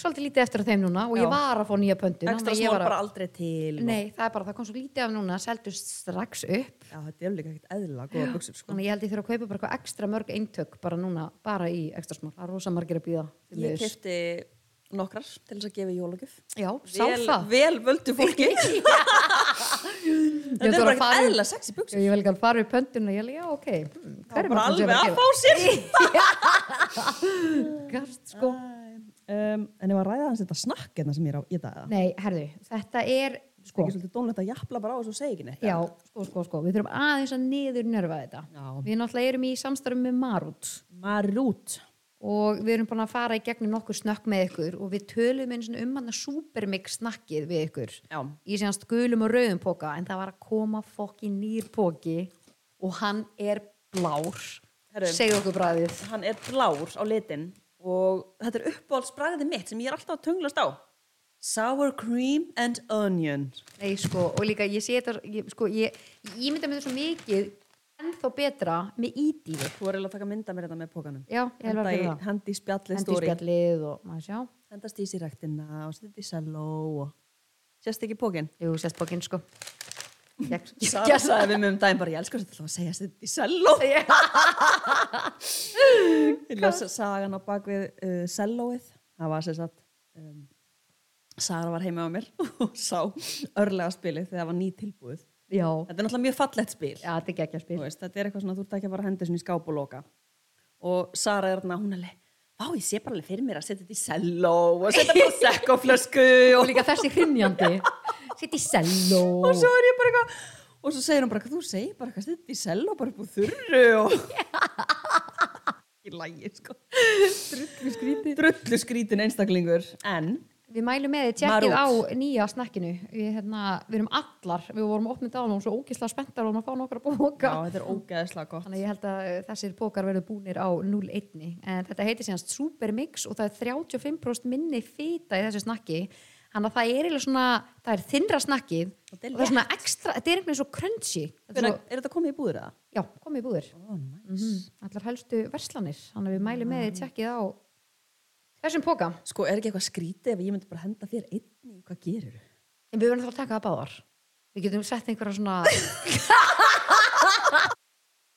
svolítið lítið eftir af þeim núna og Já. ég var að fá nýja pöndu Ekstra smál bara aldrei til og- Nei, það er bara, það kom svo lítið af núna, seldust strax upp Já, þetta er líka ekkert eðla góða buksur sko. Þannig ég held ég þurfa að kaupa bara eitthvað ekstra mörg eintök bara núna, bara í ekstra smál Það er rosa margir að býða Ég kefti nokkrar til þess að gefa í jólagjöf Já, sá vel, það vel völdu (laughs) fólki Þetta Ég er bara þarf að ekkert fara í- eðla sexy Já, buksur Ég vil ekki að fara við pönduna, ég held, já, ok hmm, Það hver er Mm, bara maður sem alveg er að gefa? fá (laughs) sér Gart, sko um, En ef að ræða hans þetta snakk hérna sem ég er á í dag Nei, herðu, þetta er, sko. sko ekki svolítið dónlegt að jafla bara á þessu og segja ekki neitt Já, sko, sko, sko, við þurfum aðeins að niður nörfa þetta Já. Við náttúrulega erum í samstarfum með Marút Marút og við erum búin að fara í gegnum nokkur snökk með ykkur og við tölum einu sinni um hann að supermix snakkið við ykkur Já. í síðanst gulum og rauðum póka en það var að koma fokki nýr póki og hann er blár Herru. segðu okkur bræðið Hann er blár á litin og þetta er uppáhaldsbragðið mitt sem ég er alltaf að tunglast á Sour cream and onion Nei, sko, og líka ég sé þetta ég, sko, ég, ég ímynda mér þetta svo mikið ennþá betra með Þú ídýfi er eiginlega að taka mynda mér þetta með pókanum já, ég er Henda í, alveg að fyrir það hendi í spjallið hendi í stóri spjallið og maður sjá Hendast í sér rektina og setja þetta í selló og sérst ekki pókin jú, sérst bókin sko ég, ég, (laughs) Sara sagði við mig um daginn bara, ég elsku þetta að segja þetta í (laughs) selló Ég las sagan á bakvið uh, sellóið það var sem sagt um, Sara var heima á mér (laughs) og sá örlega spilið þegar það var ný tilbúið já, Þetta er náttúrulega mjög fallegt spil já, þetta er geggja Þú spil veist, þetta er eitthvað svona, þú ert ekki að fara að henda þessu í skáp og loka og Sara er þarna, hún er leið Vá, ég sé bara alveg fyrir mér að setja þetta í selló og setja bara sekkoflösku og og líka þessi hrinnjandi sitt í selló og svo er ég bara eitthvað og svo segir hún bara eitthvað, þú segir bara eitthvað þetta í sel og bara upp úr þurru (laughs) og ekki lægi sko drullu skrítin drullu skrítin einstaklingur en við mælum með þið tjekkið á Marút. nýja snakkinu við, hérna, við erum allar, við vorum opnið á og svo ógislega spenntar og maður fá nokkra bóka já, þetta er ógeðslega gott þannig að ég held að eh, þessir bókar verður búnir á 0,1 en þetta heitir síðanst Supermix og það er 35% minni fýta í þessu snakki þannig að það er eiginlega svona það er þinnra snakkið og þetta er það er svona ekstra, þetta er einhvern veginn svo crunchy þetta er Hvenær, svo, er þetta komið í búður eða? já, komið í búður Ó, næ. allar helstu verslanir þannig að við mælum með þið tjekkið á þessum bóka sko er ekki eitthvað skrítið ef ég myndi bara henda þér einni hvað gerir En við verðum þá að taka það báðar. Við getum sett einhverja svona...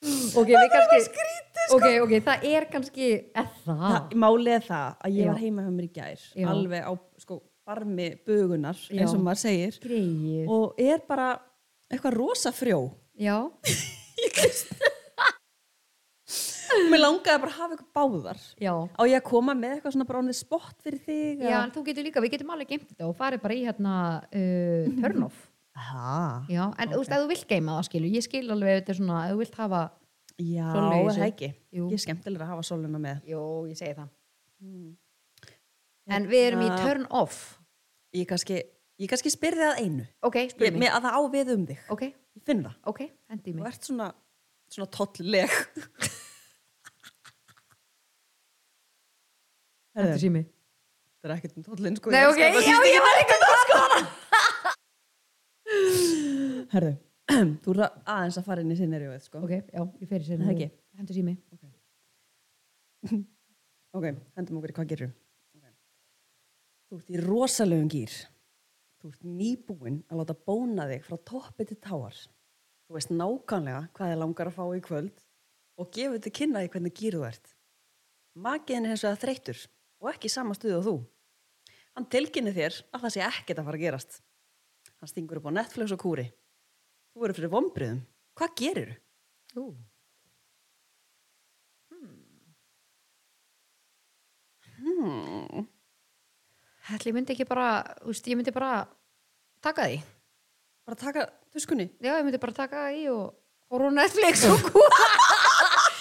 (laughs) ok, við kannski... Skrítið, sko. Ok, ok, það er kannski... Er Ah. það? málið er það að ég Já. var heima hjá mér í gær Já. alveg á sko barmi bugunar Já. eins og maður segir Greið. og er bara eitthvað rosa frjó Já. Mér langaði bara að hafa eitthvað báðar. Já. Á ég að koma með eitthvað svona bara onnið spott fyrir þig? Já, en þú getur líka, við getum alveg geimt þetta og farið bara í hérna uh, Mhm. turn-off. Hæ? Já, en þú veist, ef þú vilt geima það, skilu, ég skil alveg ef þetta er svona, ef þú vilt hafa... Já, Sólveig í er það sig. ekki. Jú. Ég er skemmtilega að hafa sóluna með. Jó, ég segi það. En við erum í Mm. Hérna- turn-off. Ég kannski, ég kannski spyrði að einu. Ok, Ég, spyrum mig. með að það á við um þig. Ok, Ég finn það. ok, hendi í Þú mig. ert svona, svona tollleg. Hendi Þetta í mig. er ekkert um tollin, sko. Nei, Ég ok, elska það já, síst ég var líka það, sko. ekki. Herðu, (clears throat) þú er aðeins að fara inn í sinnerjóið, sko. Ok, já, ég fer í sér. Það ekki. Hendur sími. Ok, hendum okkur í hvað gerir Þú ert í rosalegum gýr Þú ert nýbúinn að láta bóna þig frá toppi til táar Þú veist nákvæmlega hvað þið langar að fá í kvöld og gefur til kynna því hvernig gýr þú ert Makiðin er hins vegar þreyttur og ekki í sama stuð og þú Hann tilkynni þér að það sé ekkert að fara að gerast Hann stingur upp á Netflix og kúri Þú verður fyrir vombriðum Hvað gerir þú? Ú. Hmm. Hmm. Ætli, ég myndi ekki bara, þú veist, ég myndi bara taka því. Bara taka tuskunni Já, ég myndi bara taka því og horfa á Netflix (laughs) og hvað?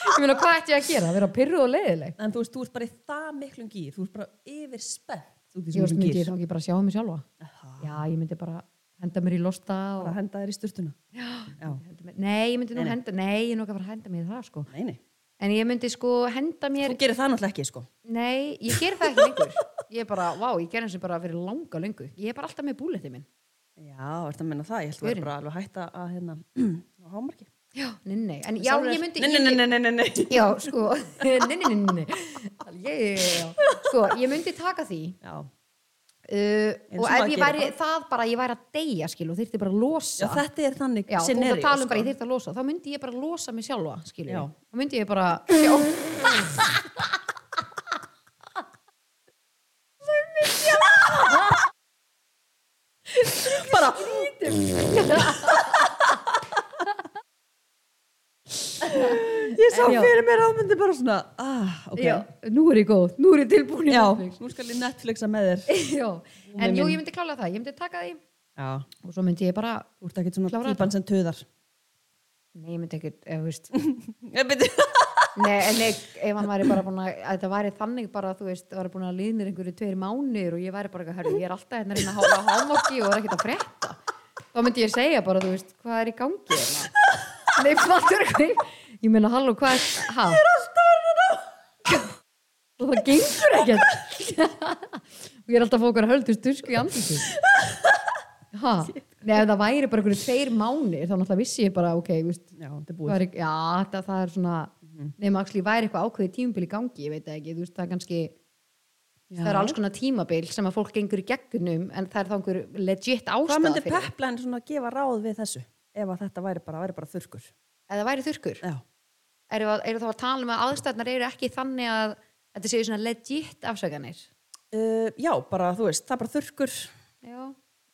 ég meina, hvað ætti ég að gera? Að vera pyrruð og leiðileg? En þú veist, þú ert bara í það miklum gýr, þú ert bara yfir spennt út í Ég veist, þessum myndi ég gýr. þá ekki bara sjá um mig sjálfa? Aha. Já, ég myndi bara henda mér í losta og... Ah. bara henda þér í sturtuna já, henda mér- Nei, ég myndi nú Nei, nei. henda, nei, ég er nú ekki að fara að henda mér í það sko. Nei, nei. En ég myndi sko henda mér, þú gerir það náttúrulega ekki sko. nei, ég ger það ekki lengur. Ég er bara, vá, ég ger eins og bara fyrir langa löngu. Ég er bara alltaf með búletti minn. já, ertu að menna það, ég held að vera Gaurinn. bara alveg hætta að hérna, (clears throat) á hámarki Já, nei, nei, en já, Sálir. ég myndi... nei, ég- nei, nei, nei, nei, nei. Já, sko, (laughs) nei, nei, nei, nei, nei. Yeah, Sko, ég myndi taka því Já. uh, Eins og og ef maður ég gerir væri það bara, ég væri að deyja skil og þyrfti bara að losa já, þetta er þannig Já, og scenario, það tala um sko. bara ég þyrfti að losa þá myndi ég bara losa mig sjálfa skil Já. þá myndi ég bara já, bara ég sá Já. fyrir mér ámyndi bara svona ah, ok, já, nú er ég góð, nú er ég tilbúin í já, Netflix. nú skal ég Netflixa með þér (laughs) já. en jú, ég myndi klála það, ég myndi taka því já, og svo myndi ég bara þú ert ekki svona Klára típan sem töðar nei, ég myndi ekkert, ef þú veist ég byrju nei, en nei, ef hann væri bara búin að að þetta væri þannig bara, þú veist, væri búin að liðnir einhverju tveir mánir og ég væri bara, herru, ég er alltaf hérna að reyna að hála hámokki og er ekkert að frétta þá myndi ég segja bara, þú veist, hvað er í gangi hérna? nei, (laughs) fattur ekki ég meina, halló, hvað er, ha? ég er alltaf að reyna (laughs) og það gengur ekkert og ég er alltaf að fá okkur höldur stusku í andlíku ha? nei, ef það væri bara einhverju tveir mánir þá náttúrulega vissi ég bara, ok, þú veist já, þetta er Það búið er, ekki- já, það, það er svona Mhm. nema axli væri eitthvað ákveðið tímabil í gangi ég veit það ekki, þú veist það er kannski það er alls konar tímabil sem að fólk gengur í gegnum en það er þá einhver legit hvað ástæða myndi fyrir því. peplan svona að gefa ráð við þessu ef að þetta væri bara, væri bara þurrkur ef það væri þurrkur, já, eru, að- eru þá að tala um að aðstæðnar eru ekki þannig að þetta séu svona legit afsökanir uh, já, bara þú veist, það er bara þurrkur já,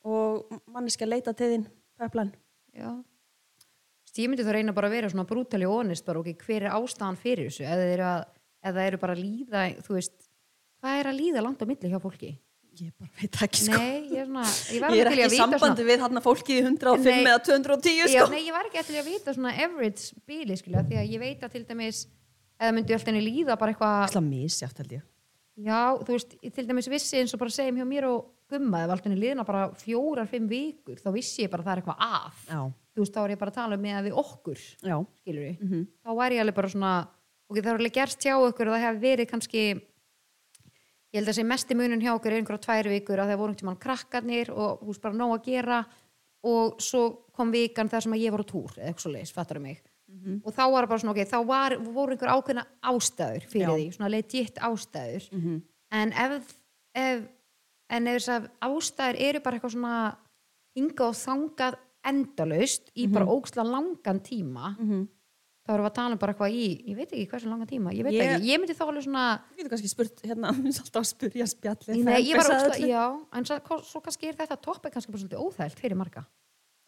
og manniski að leita til þín peplan já Þú veist, ég myndi þá reyna bara að vera svona brútali og honest bara, ok, hver er ástæðan fyrir þessu eða það eru, að, eða það eru bara að líða þú veist, hvað er að líða langt á milli hjá fólki? ég bara veit það ekki sko Nei, ég er svona, ég var ég er ekki í til í að vita svona sambandi við hann fólkið í 105 Nei. eða 210 Já, sko nei, ég var ekki eftir að vita svona average bíli, skilja, því að ég veit að til dæmis eða myndi alltaf henni líða bara eitthvað ætla misjátt held ég já, þú veist, til dæmis vissi eins og bara segjum hjá mér og gumma, ef alltaf henni líðina bara fjórar, fimm vikur, þá vissi ég bara að það er eitthvað af, já, þú veist, þá er ég bara að tala um með við okkur, já, skilur við þá væri ég alveg bara svona ok, það er alveg gerst hjá okkur og það hefur verið kannski ég held að sé mesti munun hjá okkur er einhverja tvær vikur að það voru einhvern tímann krakkarnir og þú veist bara nóg að gera og svo kom vikan þar sem að ég var á túr eða eitthvað svo leis, fattar mig og þá var það bara svona, ok, þá var, voru einhverja ákveðna ástæður fyrir Já. því, svona legit ástæður Mhm. en ef, ef en ef þess að ástæður eru bara eitthvað svona hingað og þangað endalaust í bara óksla langan tíma þá erum við að tala um bara eitthvað í ég veit ekki hversu langan tíma, ég veit Ég- ekki ég myndi þá alveg svona þú getur kannski spurt hérna (laughs) mér er alltaf að spurja spjalli Nei, ég var ógsta, fanbase að öllu. já, en svo, svo kannski er þetta topic kannski bara svolítið óþælt fyrir marga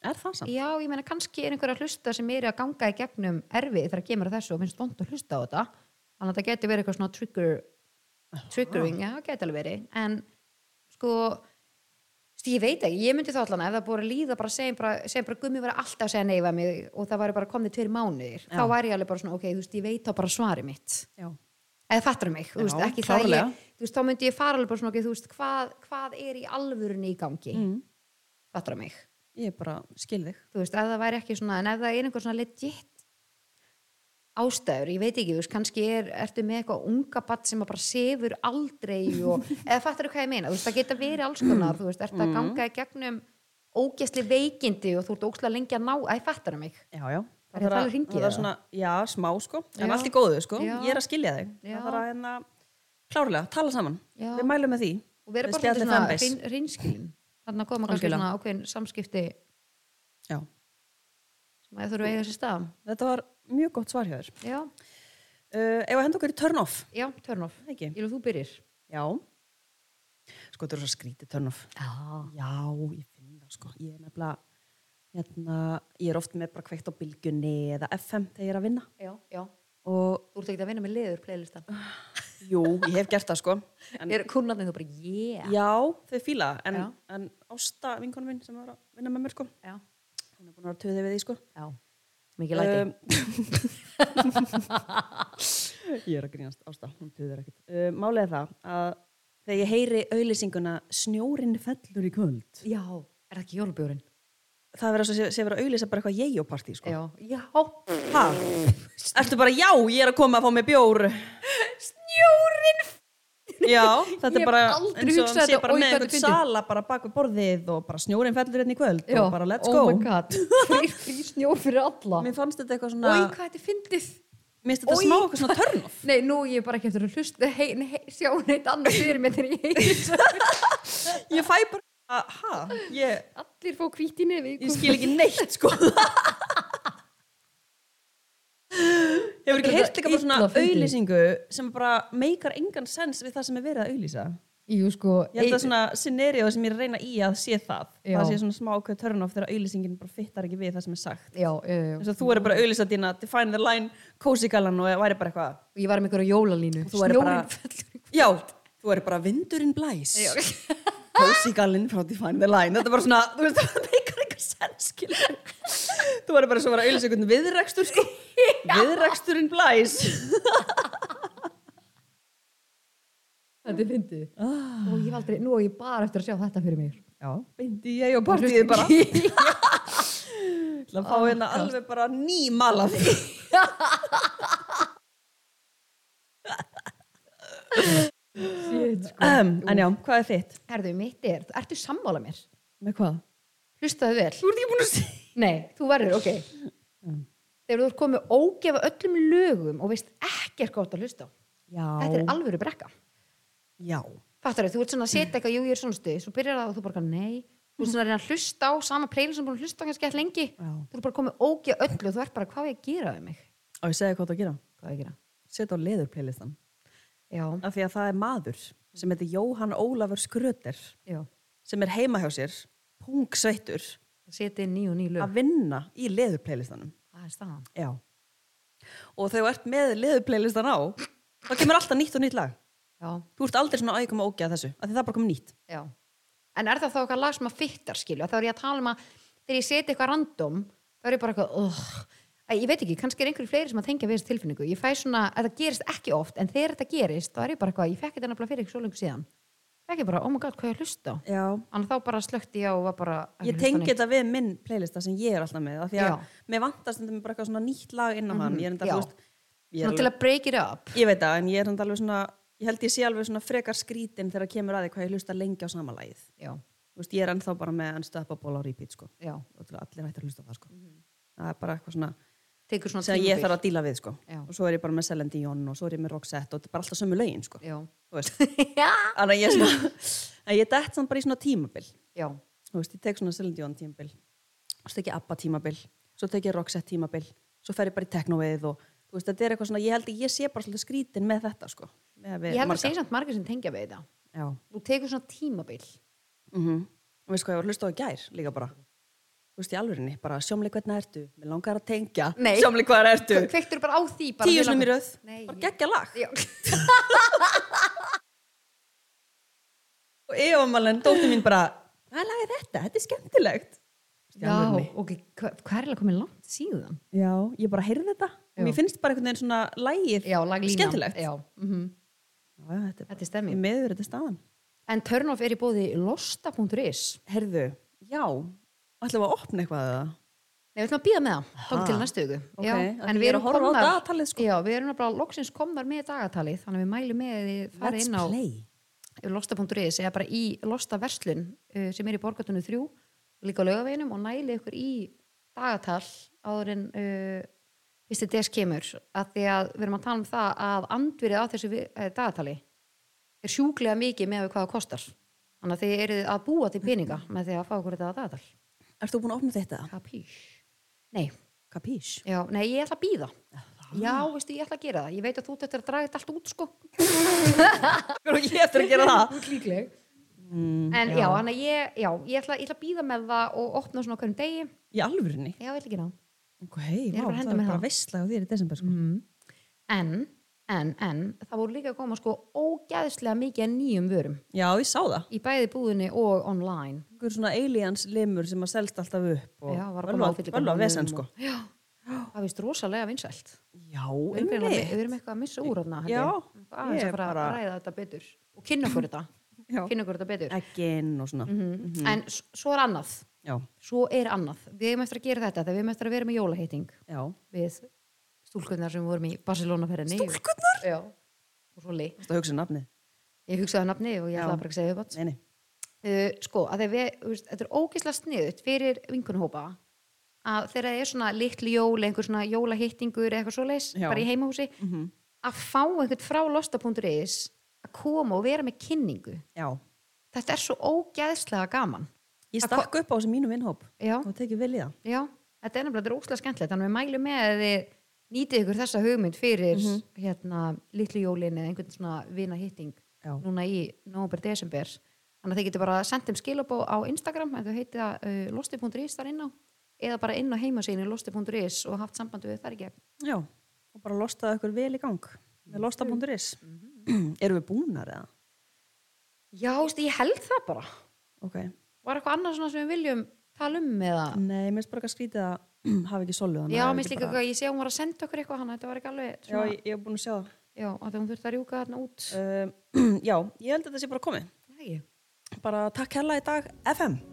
er það samt? já, ég meina kannski er einhverja hlusta sem eru að ganga í gegnum erfið þegar kemur að þessu og finnst vond að hlusta á þetta þannig að það geti verið eitthvað svona trigger triggering, já, það geti alveg verið en sko sti, ég veit ekki, ég myndi þá allan ef það búið að líða bara segjum bara, segjum bara gummi var alltaf að segja neyfa mig og það væri bara komnið tveir mánuðir þá væri ég alveg bara svona, ok, þú veist, ég veit þá bara svari mitt já, eða fattar mig, þú Já, veist, ekki það klárlega. ég, þú veist, þá myndi ég fara alveg bara svona, ok, þú veist, hvað, hvað er í alvörunni í gangi mm. fattar mig, ég bara skil þig þú veist, ef það væri ekki svona en ef það er einhver svona legit ástæður, ég veit ekki, þú veist, kannski er, ertu með eitthvað unga batt sem að bara sefur aldrei (laughs) og, eða fattar þú hvað ég meina, þú veist, það geta verið alls konar, þú veist, ertu Mm. að ganga í gegnum ógæsli veikindi og þú ert ógæslega lengi að ná, æ, fattar mig já, já Það er að tala í hringi, það er eða? svona, já, smá sko en Já. allt í góðu sko, Já. ég er að skilja þig Já. það þarf að hérna, klárlega, tala saman Já. við mælum með því og vera Við bara spjallið svolítið svona fanbase. hrein- hreinskilin þannig að koma kannski Algjörlega. svona ákveðin samskipti já, sem að þurfa að eiga sér stað þetta var mjög gott svar hjá þér Já, uh, ef að henda okkur í turn off já, turn off. Ekki? Ég vil að þú byrjir. já sko, þetta er svo skrítið turn off Já. já, ég finn það sko ég er nefnilega hérna, ég er oft með bara kveikt á bylgjunni eða FM þegar ég er að vinna Já, já. og Þú ert ekki að vinna með leður playlistan. jú, ég hef gert það sko en, Er kurnarnir þú bara, yeah. já, þau fíla það, en, Já. en Ásta, vinkonum minn sem var að vinna með mér sko Já. hún er búin að vera töðið við því sko Já. Mikið læti. Um, (laughs) ég er að grínast ásta, hún tuður ekkert. Uh, málið er það að þegar ég heyri auðlýsinguna snjórin fellur í kvöld já. er það ekki jólubjórinn? það er verið að sé- sé verið að auðlýsa bara eitthvað jæjópartí sko. Já, já Ha? Ertu bara, já, ég er að koma að fá mig bjór Snjórin (laughs) Já, þetta Ég er bara hef aldrei eins og hugsað hann sé þetta, bara oj, með hvað þetta einhvern er fyndið. sala bara bak við borðið og bara snjórin fellur hérna í kvöld Já, og bara let's oh go my god (laughs) Frí, frí snjó fyrir alla Mér fannst þetta eitthvað svona Ói, hvað þetta er fyndið Mér finnst þetta Oj, smá eitthvað svona törn Nei, nú ég er bara ekki eftir að hlusta hei, nei, sjá neitt annað fyrir mér þegar ég heiti (laughs) (laughs) Ég fæ bara, ha, ég, Allir fá hvíti nefi ég skil ekki neitt sko (laughs) Hefur ekki heyrt líka bara svona Illa fyndið. auðlýsingu sem bara meikar engan sens við það sem er verið að auðlýsa Jú, sko Ég held ein- að svona scenario sem ég er að reyna í að sé það Já. það sé svona smá okkur törn þegar auðlýsingin bara fittar ekki við það sem er sagt Já, já, já eins og þú eru bara auðlýsað dýna define the line, cozy galan og væri bara eitthvað Og ég var með einhverja jólalínu þú væri bara- fellur í- já, þú eru bara vindurinn blæs cozy galan frá define the line þetta er bara svona, þú veist, (laughs) það meikar eitthvað sennskil þú eru bara svo að vera auðlýsað einhvern viðrekstur sko viðreksturinn blæs Þetta er fyndið Ah. Og ég var aldrei, nú og ég bara eftir að sjá þetta fyrir mér já, beindi ég og partíð (laughs) bara Það fá hérna alveg bara ný malað Shit, sko. um, En já, hvað er þitt? Herðu, mitt er, ertu sammála mér? Með hvað? Hlustaðu vel Þú ert ekki búin að segja (laughs) Nei, þú verður, ok Þegar þú ert komið ógefa öllum lögum og veist ekkert hvað þú ert að hlusta á Já, Þetta er alvöru brekka já, Fattar þú, þú ert svona að setja eitthvað, jú ég er svona stuð Svo byrjar það og þú bara, nei Þú ert svona að reyna að hlusta á sama preil sem búin að hlusta á kannski eftir lengi Já. Þú ert bara komið ógefa öllu og þú ert bara, hvað á ég að gera við mig? á ég segja hvað það að gera Hvað á ég að gera? Sett á leður playlistan Já, af því að það er maður sem heitir Jóhann Ólafur Skröter já, sem er heima hjá sér, pungsveittur setja inn ný og ný lög að vinna í leðurplaylistanum Það er staðan Já og þegar þú ert með leðurplaylistan á þá kemur alltaf nýtt og nýtt lag Já, Þú ert aldrei svona ægum að ógja þessu af því það er bara komið nýtt Já. En er það þá eitthvað lag sem að fittar, skilju? Þá er ég að tala um að þegar ég seti eitthvað random, þá er ég bara eitthvað, oh. Æ, ég veit ekki, kannski er einhverju fleiri sem að tengja við þessu tilfinningu. Ég fæ svona, að það gerist ekki oft, en þegar þetta gerist, þá er ég bara eitthvað, ég fekk þetta nefnilega fyrir ekki svo lengur síðan. Fekk ég bara, oh my god, hvað ég hlusta á? Já Þannig þá bara slökti ég á og var bara... Ég tengi þetta við minn playlista sem ég er alltaf með af því að Já. Mhm. mér vantast þetta bara eitthvað svona nýtt lag innan hann Ég er enda, já. þú veist ég, er Svona til alveg, að break it up. ég veit það, en ég er enda alveg svona ég held ég sé alveg svona frekar skrítin þegar kemur að því hvað ég hlusta lengi á sama lagið Já, Þú veist, ég er ennþá bara með unstoppable á repeat sko. já. og til að allir hættir að hlusta á það sko. það er bara eitthvað svona Tekur Mhm. svona sem ég þarf að díla við sko. Já. og svo er ég bara með Celine Dion og svo er ég með Roxette og þetta er bara alltaf sömu lögin sko. (laughs) Já, Þú veist. þannig að ég er svona að ég dett samt bara í svona tímabil já, Þú veist, ég tek svona Celine Dion tímabil svo tek ég Abba tímabil svo tek ég Roxette tímabil svo fer ég bara í teknóið og þú veist, þetta er eitthvað svona ég held að ég sé bara svolítið skrítin með þetta sko. ég held að segja samt margir sem tengja við þetta. Já. Þú tekur svona tímabil. Mm -hmm. Og veist hvað, ég var að hlusta á í gær líka bara. Þú veist, í alvörinni, bara sjómleik hvernig ertu, mér langar að tengja, Nei. sjómleik hvað ertu. Kveiktur bara á því bara Tíu mig sinum í langar- röð, Nei, bara ég- geggja lag. Já. Og yfirmalen, dóttir mín bara, hvað lag er þetta? Þetta er skemmtilegt. Þú veist, í Já, alvörunni. ok, hva- hvað er alveg komið langt síðan? Já, ég bara heyrði þetta. Já. og Mér finnst bara einhvern veginn svona lægið skemmtilegt. Já, mhm. Já, já, þetta er, Þetta bara- er stemming. Í meður þetta er staðan. En turn-off er í bóði losta.is Herðu, já, ætlum við að opna eitthvað eða? Nei, við ætlum að býða með það, þá til næstu viku Ok, Já, af en því við ég er erum að horfa á komnar dagatalið, sko. Já, við erum nefnilega loksins komnar með dagatalið þannig að við mælum með að þið farið Let's inn á play. losta.is eða bara í losta verslun uh, sem er í borgatunni 3 líka á laugaveginum og nælið ykkur í dagatal áður en uh, fyrsti des kemur að því að við erum að tala um það að andvirið á þessu vi- eh, dagatali er sjúklega mikið með hvað það kostar þannig að þið eruð að búa til peninga með því að fá ykkur þetta dagatal Ertu búin að opna þetta? Kapís? Nei, Kapís? já, nei, ég ætla að býða Já, veistu, ég ætla að gera það Ég veit að þú ert eftir að draga þetta allt út, sko Ég eftir að gera það. Líkleg Mm, En já, hann að ég, já, ég ætla, ég ætla að býða með það og opna svona okkur um degi Já, Í alvörinni? ég ætla að gera það Ok, hey, Ég er vá, bara að það henda er mér bara það. veistlega á þér í desember sko. Mm. En, en, en, það voru líka að koma sko ógæðslega mikið af nýjum vörum Já, ég sá það. Í bæði búðinni og (gasps) online Einhver svona aliens limur sem að selst alltaf upp og Já, var að koma völva- áfyllingar völva með vesen honum sko. og- Já, það vist rosalega vinsælt Já, Við erum, greinilega- einmitt. við erum eitthvað að missa úr hana Já, Aðeins ég að fara bara- að ræða þetta betur Og kynna okkur þetta (laughs) Já. Mhm. finna ykkur þetta betur Eggin og svona. Mhm. en s- svo er annað Já, svo er annað, við eigum eftir að gera þetta þegar við eigum eftir að vera með jólaheiting já. við stúlkunnar sem vorum í Barcelona-ferðinni Stúlkunnar? Já, og svo lið Þú veist að hugsa um nafnið. Ég hugsaði að nafni og ég Já. ætlaði bara ekki að segja upp átt Nei, nei. uh, sko, að þegar við, þú veist, þetta er ógeðslega sniðut fyrir vinkunhópa að þegar það er svona litli jól einhver svona jólahittingur eða eitthvað svoleiðis Já. Mhm. bara í heimahúsi, að fá einhvern frá losta.is að koma og vera með kynningu Já. þetta er svo ógeðslega gaman Ég Að stakk upp á þessu mínu vinnhóp Já. og tekið vel í það. já, þetta er nefnilega þetta er ógeðslega skemmtilegt þannig að við mælum með að þið nýtið ykkur þessa hugmynd fyrir hérna, litli jólin eða einhvern svona vinahitting Já. núna í november, desember þannig að þið getur bara sendt þeim skilabó á Instagram en þau heitið að uh, losti.is þar inn á eða bara inn á heimasíðinu losti.is og haft samband við þar í gegn Já. Og bara lostaði okkur vel í gang Mhm. með losta.is. (clears throat) Erum við búnar eða? Já, veist, ég held það bara Ok. Var eitthvað annað svona sem við viljum tala um eða Nei, mér finnst bara eitthvað skrítið að (clears throat) hafa ekki solu. Já, mér slíka eitthvað, ég sé að hún var að senda okkur eitthvað hana, þetta var ekki alveg Já, svona, ég, ég hef búin að sjá það. Ehm, já, að því hún þurfti að rjúka þarna út (clears throat) Uh, já, ég held að þetta sé bara komið. Nei, Bara takk hella í dag FM.